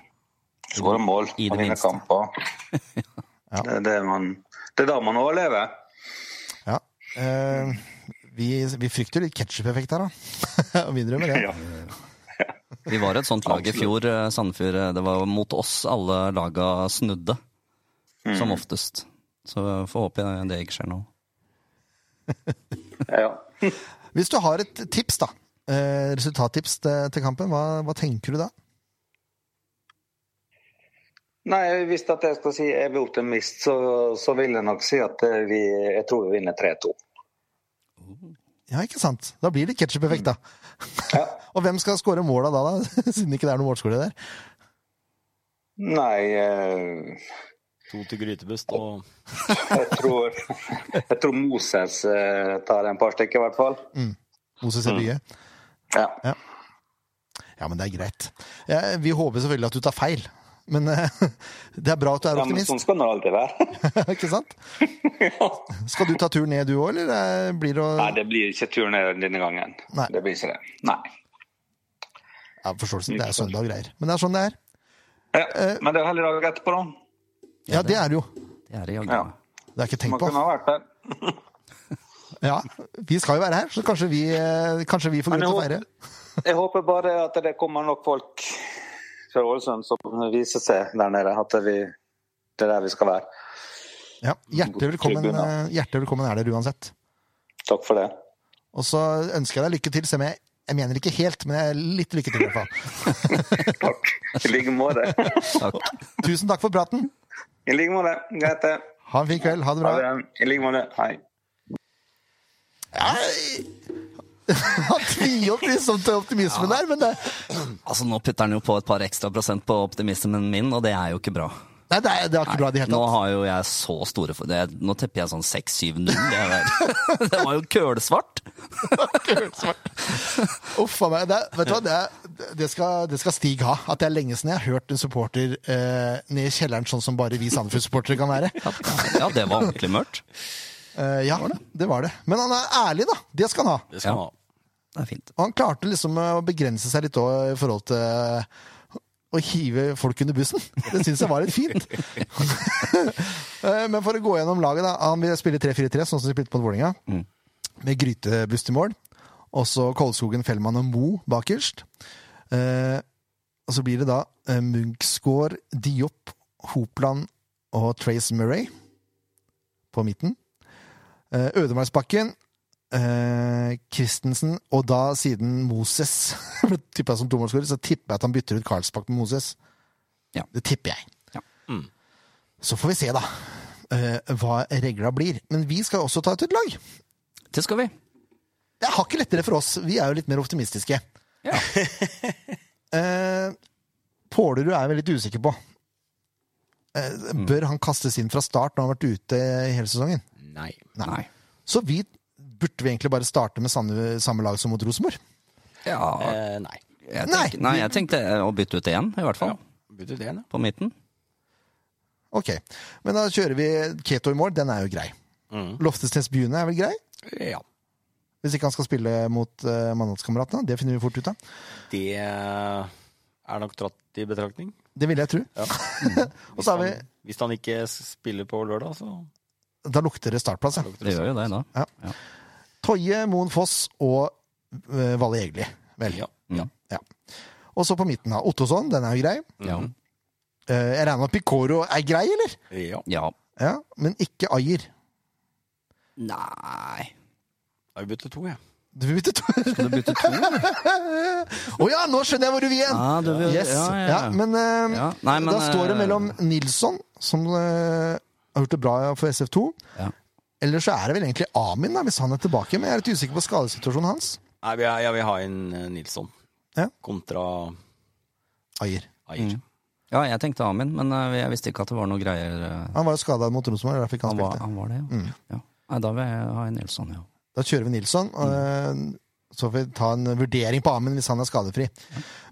[SPEAKER 6] Skåre mål
[SPEAKER 2] I det
[SPEAKER 6] og vinne
[SPEAKER 2] minste.
[SPEAKER 6] kamper.
[SPEAKER 1] Ja.
[SPEAKER 6] Det, er det, man, det er da man overlever.
[SPEAKER 1] Ja. Eh, vi, vi frykter litt ketsjup-effekt her, da. Og vi innrømmer det.
[SPEAKER 6] Ja.
[SPEAKER 2] Vi var et sånt lag i fjor, eh, Sandefjord. eh, Det var mot oss alle laga snudde.
[SPEAKER 1] Mm.
[SPEAKER 2] Som oftest. Så jeg får håpe det ikke skjer nå.
[SPEAKER 6] Ja.
[SPEAKER 1] Hvis du har et tips, da. eh, resultattips til, til kampen, hva, hva tenker du da?
[SPEAKER 6] Nei, hvis at jeg skal si er vi optimist, så, så vil jeg nok si at eh, vi, jeg tror vi vinner 3-2.
[SPEAKER 1] Ja, ikke sant? Da blir det ketsjup-effekt, da. Og hvem skal skåre måla da, da? Siden det ikke er noen målskole der.
[SPEAKER 6] Nei, eh,
[SPEAKER 3] To til grytebust og
[SPEAKER 6] jeg tror, jeg tror Moses eh, tar en par stykker, i hvert fall.
[SPEAKER 1] Moses
[SPEAKER 6] Mm.
[SPEAKER 1] Ebye.
[SPEAKER 6] Ja.
[SPEAKER 1] Ja, men det er greit. Ja, vi håper selvfølgelig at du tar feil. Men eh, det er bra at du er
[SPEAKER 6] Ja, men
[SPEAKER 1] optimist,
[SPEAKER 6] sånn skal det alltid være.
[SPEAKER 1] ikke sant? Skal du ta turen ned du òg, eller eh, blir det å
[SPEAKER 6] Nei, det blir ikke tur ned denne gangen.
[SPEAKER 1] Nei.
[SPEAKER 6] Det blir ikke det. Nei.
[SPEAKER 1] Ja, forståelsen. Det er søndag og greier. Men det er sånn det er.
[SPEAKER 6] Ja.
[SPEAKER 1] Eh.
[SPEAKER 6] Men det er heller dag etterpå, da.
[SPEAKER 1] Ja, det er det jo.
[SPEAKER 2] Det er det jaggu.
[SPEAKER 6] Ja.
[SPEAKER 1] Det er ikke tenkt
[SPEAKER 6] Man
[SPEAKER 1] på.
[SPEAKER 6] kunne ha vært der.
[SPEAKER 1] Ja, vi skal jo være her, så kanskje vi, eh, kanskje vi får
[SPEAKER 6] Men
[SPEAKER 1] grunn til å feire.
[SPEAKER 6] jeg Jeg håper bare at det kommer nok folk fra Ålesund som viser seg der nede. At vi, det er der vi skal være.
[SPEAKER 1] Ja, hjertelig velkommen,
[SPEAKER 6] Tribune.
[SPEAKER 1] eh, hjertelig velkommen er dere uansett.
[SPEAKER 6] Takk for det.
[SPEAKER 1] Og så ønsker jeg deg lykke til, selv om jeg, jeg mener ikke helt, men jeg er litt lykke til i hvert fall.
[SPEAKER 6] Takk. I like måte.
[SPEAKER 2] Takk.
[SPEAKER 1] Tusen takk for praten.
[SPEAKER 6] I like måte. Greit, det.
[SPEAKER 1] Ha en fin kveld. Ha det
[SPEAKER 6] Ha
[SPEAKER 1] bra.
[SPEAKER 6] det. I like måte. Hei.
[SPEAKER 1] Nei. Han tviholdt liksom til optimismen der, men det,
[SPEAKER 2] Altså, nå putter han jo på et par ekstra prosent på optimismen min, og det er jo ikke bra.
[SPEAKER 1] nei, det, er, det er ikke bra i det hele
[SPEAKER 2] Nå
[SPEAKER 1] tatt.
[SPEAKER 2] har jo jeg så store for det. Nå tepper jeg sånn 6-7-0. jeg vet. Det var jo kølsvart!
[SPEAKER 1] Uff a meg. Det, er- vet du hva, det, er- det, skal, det skal Stig ha. At det er lenge siden jeg har hørt en supporter eh, ned i kjelleren sånn som bare vi Sandefjord-supportere kan være.
[SPEAKER 2] Ja, det var ordentlig mørkt.
[SPEAKER 1] Eh, ja, det var det. Men han er ærlig, da. Det skal han ha.
[SPEAKER 3] Det skal
[SPEAKER 2] Ja.
[SPEAKER 3] man ha.
[SPEAKER 2] Det er fint.
[SPEAKER 1] Og han klarte liksom eh, å begrense seg litt også i forhold til eh, å hive folk under bussen. Det syns jeg var litt fint. Eh, Men for å gå gjennom laget, da. Han vil spille 3-4-3, sånn som de spilte mot Vålerenga. Med grytebust i mål. Også Kolskogen, Fellmann og Mo bakerst. Eh, og så blir det da eh, Munchsgaard, Diop, Hopland og Trace Murray på midten. Eh, Ødemarksbakken, eh, Christensen, og da siden Moses ble tippa som tomålsskårer, så tipper jeg at han bytter ut Karlsbakk med Moses.
[SPEAKER 2] Ja.
[SPEAKER 1] Det tipper jeg.
[SPEAKER 2] Ja.
[SPEAKER 1] Så får vi se, da, eh, hva regla blir. Men vi skal også ta ut et lag.
[SPEAKER 2] Det skal vi.
[SPEAKER 1] Det er hakket lettere for oss. Vi er jo litt mer optimistiske.
[SPEAKER 2] Ja.
[SPEAKER 1] Eh, Pålerud er jeg litt usikker på. Eh,
[SPEAKER 2] Mm.
[SPEAKER 1] bør han kastes inn fra start når han har vært ute i hele sesongen?
[SPEAKER 3] Nei.
[SPEAKER 2] Nei.
[SPEAKER 1] Så vi burde vi egentlig bare starte med samme, samme lag som mot Rosenborg.
[SPEAKER 2] Ja,
[SPEAKER 3] Eh, nei.
[SPEAKER 2] jeg tenk, nei, jeg tenkte eh, å bytte ut én, i hvert fall.
[SPEAKER 3] Bytte ut én, ja.
[SPEAKER 2] På midten.
[SPEAKER 1] Ok, men da kjører vi Keto i mål. Den er jo grei.
[SPEAKER 3] Mhm.
[SPEAKER 1] Loftesnes Bune er vel grei?
[SPEAKER 3] ja.
[SPEAKER 1] Hvis ikke han skal spille mot uh, Mandalskameratene. Det finner vi fort ut av.
[SPEAKER 3] Det eh, er nok dratt i betraktning.
[SPEAKER 1] Det ville jeg tro.
[SPEAKER 3] Ja.
[SPEAKER 1] Og så har vi
[SPEAKER 3] Hvis han ikke spiller på lørdag, så
[SPEAKER 1] Da lukter det startplass, ja.
[SPEAKER 2] Det gjør jo det, da.
[SPEAKER 1] Toje, Moen Foss og uh, Valle Egli. Vel.
[SPEAKER 3] Ja.
[SPEAKER 2] Ja.
[SPEAKER 1] Og så på midten, da. Ottosson, den er jo grei.
[SPEAKER 2] Ja.
[SPEAKER 1] Eh, jeg regner med at Picoro er grei, eller?
[SPEAKER 3] ja.
[SPEAKER 2] ja.
[SPEAKER 1] Ja, Men ikke Ajer.
[SPEAKER 2] Nei
[SPEAKER 3] Da bytter to, jeg.
[SPEAKER 1] Du vil bytte to?
[SPEAKER 2] Skal du bytte to?
[SPEAKER 1] Å ja, nå skjønner jeg hvor du vil hen!
[SPEAKER 2] Ja, du vil-
[SPEAKER 1] yes. ja,
[SPEAKER 2] ja, ja, ja.
[SPEAKER 1] men, eh,
[SPEAKER 2] Ja, nei, men,
[SPEAKER 1] da står det
[SPEAKER 2] eh,
[SPEAKER 1] mellom Nilsson, som eh, har gjort det bra for SF2
[SPEAKER 2] Ja.
[SPEAKER 1] Eller så er det vel egentlig Amin, da, hvis han er tilbake. Men jeg er litt usikker på skadesituasjonen hans.
[SPEAKER 3] Nei, vi er- jeg vil ha inn eh, Nilsson
[SPEAKER 1] Ja.
[SPEAKER 3] kontra
[SPEAKER 1] Ajer.
[SPEAKER 3] Ayer.
[SPEAKER 2] Ja, jeg tenkte Amin, men eh, jeg visste ikke at det var noe greier. eh,
[SPEAKER 1] Han var jo skada mot Rosenborg, derfor ikke
[SPEAKER 2] Han
[SPEAKER 1] han
[SPEAKER 2] var,
[SPEAKER 1] spilte.
[SPEAKER 2] han var det, ja. ja. Nei, da vil jeg ha en Nilsson, ja.
[SPEAKER 1] Da kjører vi Nilsson.
[SPEAKER 2] Mm.
[SPEAKER 1] eh, så får vi ta en vurdering på Amin hvis han er skadefri.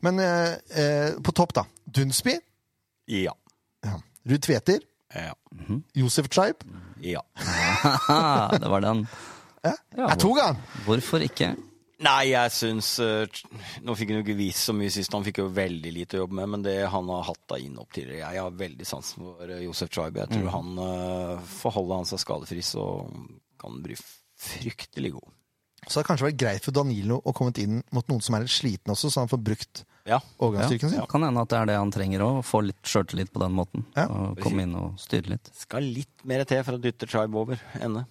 [SPEAKER 1] Men eh, eh, på topp, da. Dunsby.
[SPEAKER 3] Ja.
[SPEAKER 1] Ja. Ruud Tveter.
[SPEAKER 3] Ja.
[SPEAKER 1] Josef Chaib.
[SPEAKER 3] ja.
[SPEAKER 2] Haha, Ah, det var den.
[SPEAKER 1] Ja.
[SPEAKER 2] Ja,
[SPEAKER 1] Jeg tok han!
[SPEAKER 2] Hvorfor ikke?
[SPEAKER 3] Nei, jeg syns eh, Nå fikk han jo ikke vist så mye sist, han fikk jo veldig lite å jobbe med, men det han har hatt av inn opp tidligere Jeg har veldig sansen for eh, Josef Tribe. Jeg tror han eh, får holde han seg skadefri, så kan han bli fryktelig god.
[SPEAKER 1] Så det hadde kanskje vært greit for Danilo å komme inn mot noen som er litt sliten også, så han får brukt
[SPEAKER 3] Ja.
[SPEAKER 1] overgangsstyrken sin.
[SPEAKER 2] Ja, kan hende at det er det han trenger òg. Få litt sjøltillit på den måten.
[SPEAKER 1] Ja.
[SPEAKER 2] Og komme inn og styre litt.
[SPEAKER 3] Skal litt mer til for å dytte Tribe over ende.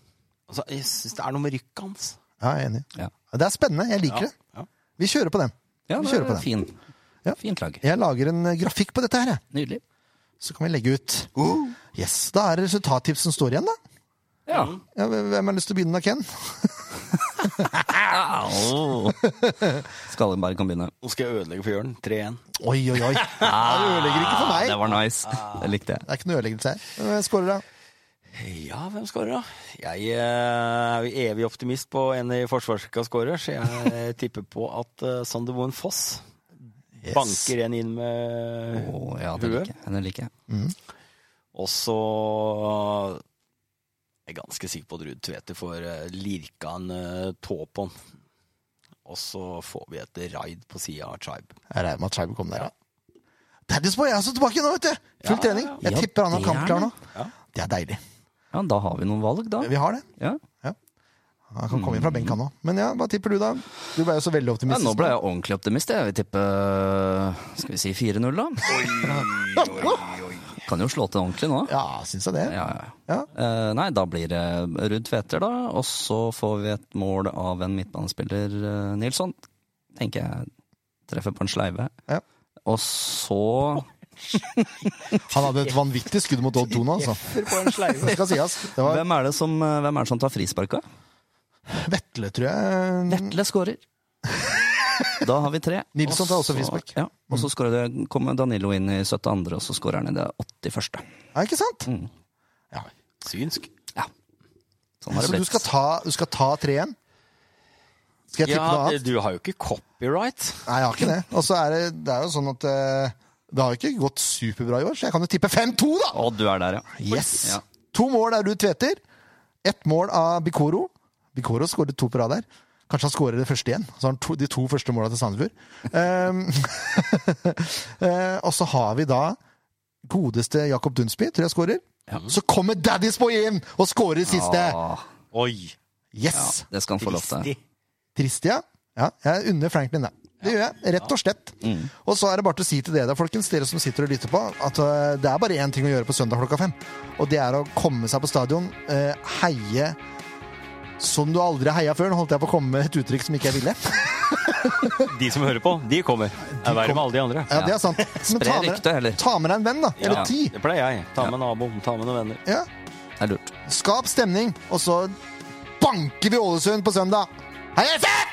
[SPEAKER 3] Altså, jeg syns det er noe med rykket hans.
[SPEAKER 1] Ja, jeg er enig.
[SPEAKER 2] Ja.
[SPEAKER 1] Det er spennende. Jeg liker det.
[SPEAKER 3] Ja.
[SPEAKER 1] Vi kjører på den. Vi
[SPEAKER 2] Ja, det
[SPEAKER 1] kjører på
[SPEAKER 2] er
[SPEAKER 1] den.
[SPEAKER 2] fin.
[SPEAKER 1] Ja.
[SPEAKER 2] Fint lag.
[SPEAKER 1] Jeg lager en eh, grafikk på dette her, jeg.
[SPEAKER 2] Nydelig.
[SPEAKER 1] så kan vi legge ut. Yes, Da er det resultattipsen står igjen, da.
[SPEAKER 2] Ja.
[SPEAKER 1] Ja, hvem har lyst til å begynne da, Ken?
[SPEAKER 2] Au. Skallenberg kan begynne.
[SPEAKER 3] Nå skal jeg ødelegge for Jørn. 3-1.
[SPEAKER 1] Oi, oi, oi. Ja, du ødelegger ikke for meg.
[SPEAKER 2] Ah, Det var nice. Det likte jeg.
[SPEAKER 1] Det er ikke noe ødeleggelse her. Hvem er scorer, da?
[SPEAKER 3] Ja, hvem skårer, da? Jeg eh, er jo evig optimist på en i forsvarsrekka skårer, så jeg eh, tipper på at eh, Sander Moen Foss banker en inn med
[SPEAKER 2] Å, ja, det
[SPEAKER 3] Hue.
[SPEAKER 2] liker jeg. Det liker jeg.
[SPEAKER 3] Og så er jeg ganske sikker på at Ruud Tvedte får eh, lirka en eh, tå på han. Og så får vi et raid på sida av Tribe.
[SPEAKER 1] Jeg regner med at Scheibe kom der, ja. Daddy's Boy er altså tilbake nå, vet du! Full
[SPEAKER 3] Ja,
[SPEAKER 1] trening. Jeg
[SPEAKER 2] ja.
[SPEAKER 1] tipper han
[SPEAKER 2] Ja,
[SPEAKER 1] har kampklar nå.
[SPEAKER 3] Ja.
[SPEAKER 1] Det er deilig.
[SPEAKER 2] Ja, da har vi noen valg, da.
[SPEAKER 1] Vi har det.
[SPEAKER 2] Ja.
[SPEAKER 1] Han kan komme inn fra benk, han òg. Men ja, hva tipper du, da? Du ble jo så veldig
[SPEAKER 2] Mm. Ja,
[SPEAKER 1] optimistisk.
[SPEAKER 2] nå ble jeg ordentlig optimist. Jeg vil tippe eh, skal vi si 4-0, da. Kan jo slå til ordentlig nå.
[SPEAKER 1] Ja, syns jeg det.
[SPEAKER 2] Ja, ja.
[SPEAKER 1] Ja.
[SPEAKER 2] Eh, nei, da blir det Ruud Tveter, da. Og så får vi et mål av en midtbanespiller, eh, Nilsson. Tenker jeg treffer på en sleive.
[SPEAKER 1] Ja.
[SPEAKER 2] Og så
[SPEAKER 1] Han hadde et vanvittig skudd mot Odd 2 nå, altså. Det skal sies. Det var
[SPEAKER 2] Hvem er det som, eh, hvem er det som tar frisparka?
[SPEAKER 1] Vetle, tror jeg.
[SPEAKER 2] Vetle skårer. Da har vi tre.
[SPEAKER 1] Nilsson tar også
[SPEAKER 2] Og så-
[SPEAKER 1] frispark.
[SPEAKER 2] Ja, og så skårer det- kommer Danilo inn i 72., og så skårer han i det 81.
[SPEAKER 1] Ja, ikke sant?
[SPEAKER 2] Mm,
[SPEAKER 3] Synsk.
[SPEAKER 2] Ja. Sånn har det
[SPEAKER 1] Så du
[SPEAKER 2] blitt.
[SPEAKER 1] skal ta, du skal ta tre igjen? Skal jeg tippe noe
[SPEAKER 3] Ja,
[SPEAKER 1] annet?
[SPEAKER 3] du har jo ikke copyright.
[SPEAKER 1] Nei, jeg har ikke det. Og så er det, det er jo sånn at eh, det har jo ikke gått superbra i år, så jeg kan jo tippe 5-2, da!
[SPEAKER 2] Å, du er der, ja.
[SPEAKER 1] Yes!
[SPEAKER 2] Ja.
[SPEAKER 1] To mål er Ruud Tveter. Ett mål av Bikoro. Bikoro skåret to på rad der. Kanskje han skårer det første igjen. Så har han to, de to første måla til Sandefjord. Um, eh, og så har vi da godeste Jakob Dunsby, tror jeg skårer. Så kommer Daddy's Boy inn og skårer siste!
[SPEAKER 2] Åh,
[SPEAKER 3] Oi!
[SPEAKER 2] Ah. ja,
[SPEAKER 1] Yes!
[SPEAKER 2] det skal han få lov til.
[SPEAKER 3] Kristi.
[SPEAKER 1] Tristia. Ja, jeg unner Franklin det. Det gjør jeg, rett og slett.
[SPEAKER 2] Mm.
[SPEAKER 1] Og så er det bare til å si til dere, folkens, dere som sitter og lytter på, at øh, det er bare én ting å gjøre på søndag klokka fem. Og det er å komme seg på stadion, øh, heie som du aldri heia før. Nå holdt jeg på å komme med et uttrykk som ikke jeg ville.
[SPEAKER 3] De som hører på, de kommer. Det er verre med alle de andre.
[SPEAKER 1] Ja, det er sant. Men ta med,
[SPEAKER 2] ryktet, heller.
[SPEAKER 1] deg- ta med deg en venn, da. Eller
[SPEAKER 2] Ja.
[SPEAKER 1] ti.
[SPEAKER 3] Det pleier jeg. Ta med nabo, ta med noen venner.
[SPEAKER 1] Ja.
[SPEAKER 2] Det er lurt.
[SPEAKER 1] Skap stemning, og så banker vi Ålesund på søndag. Heia FF!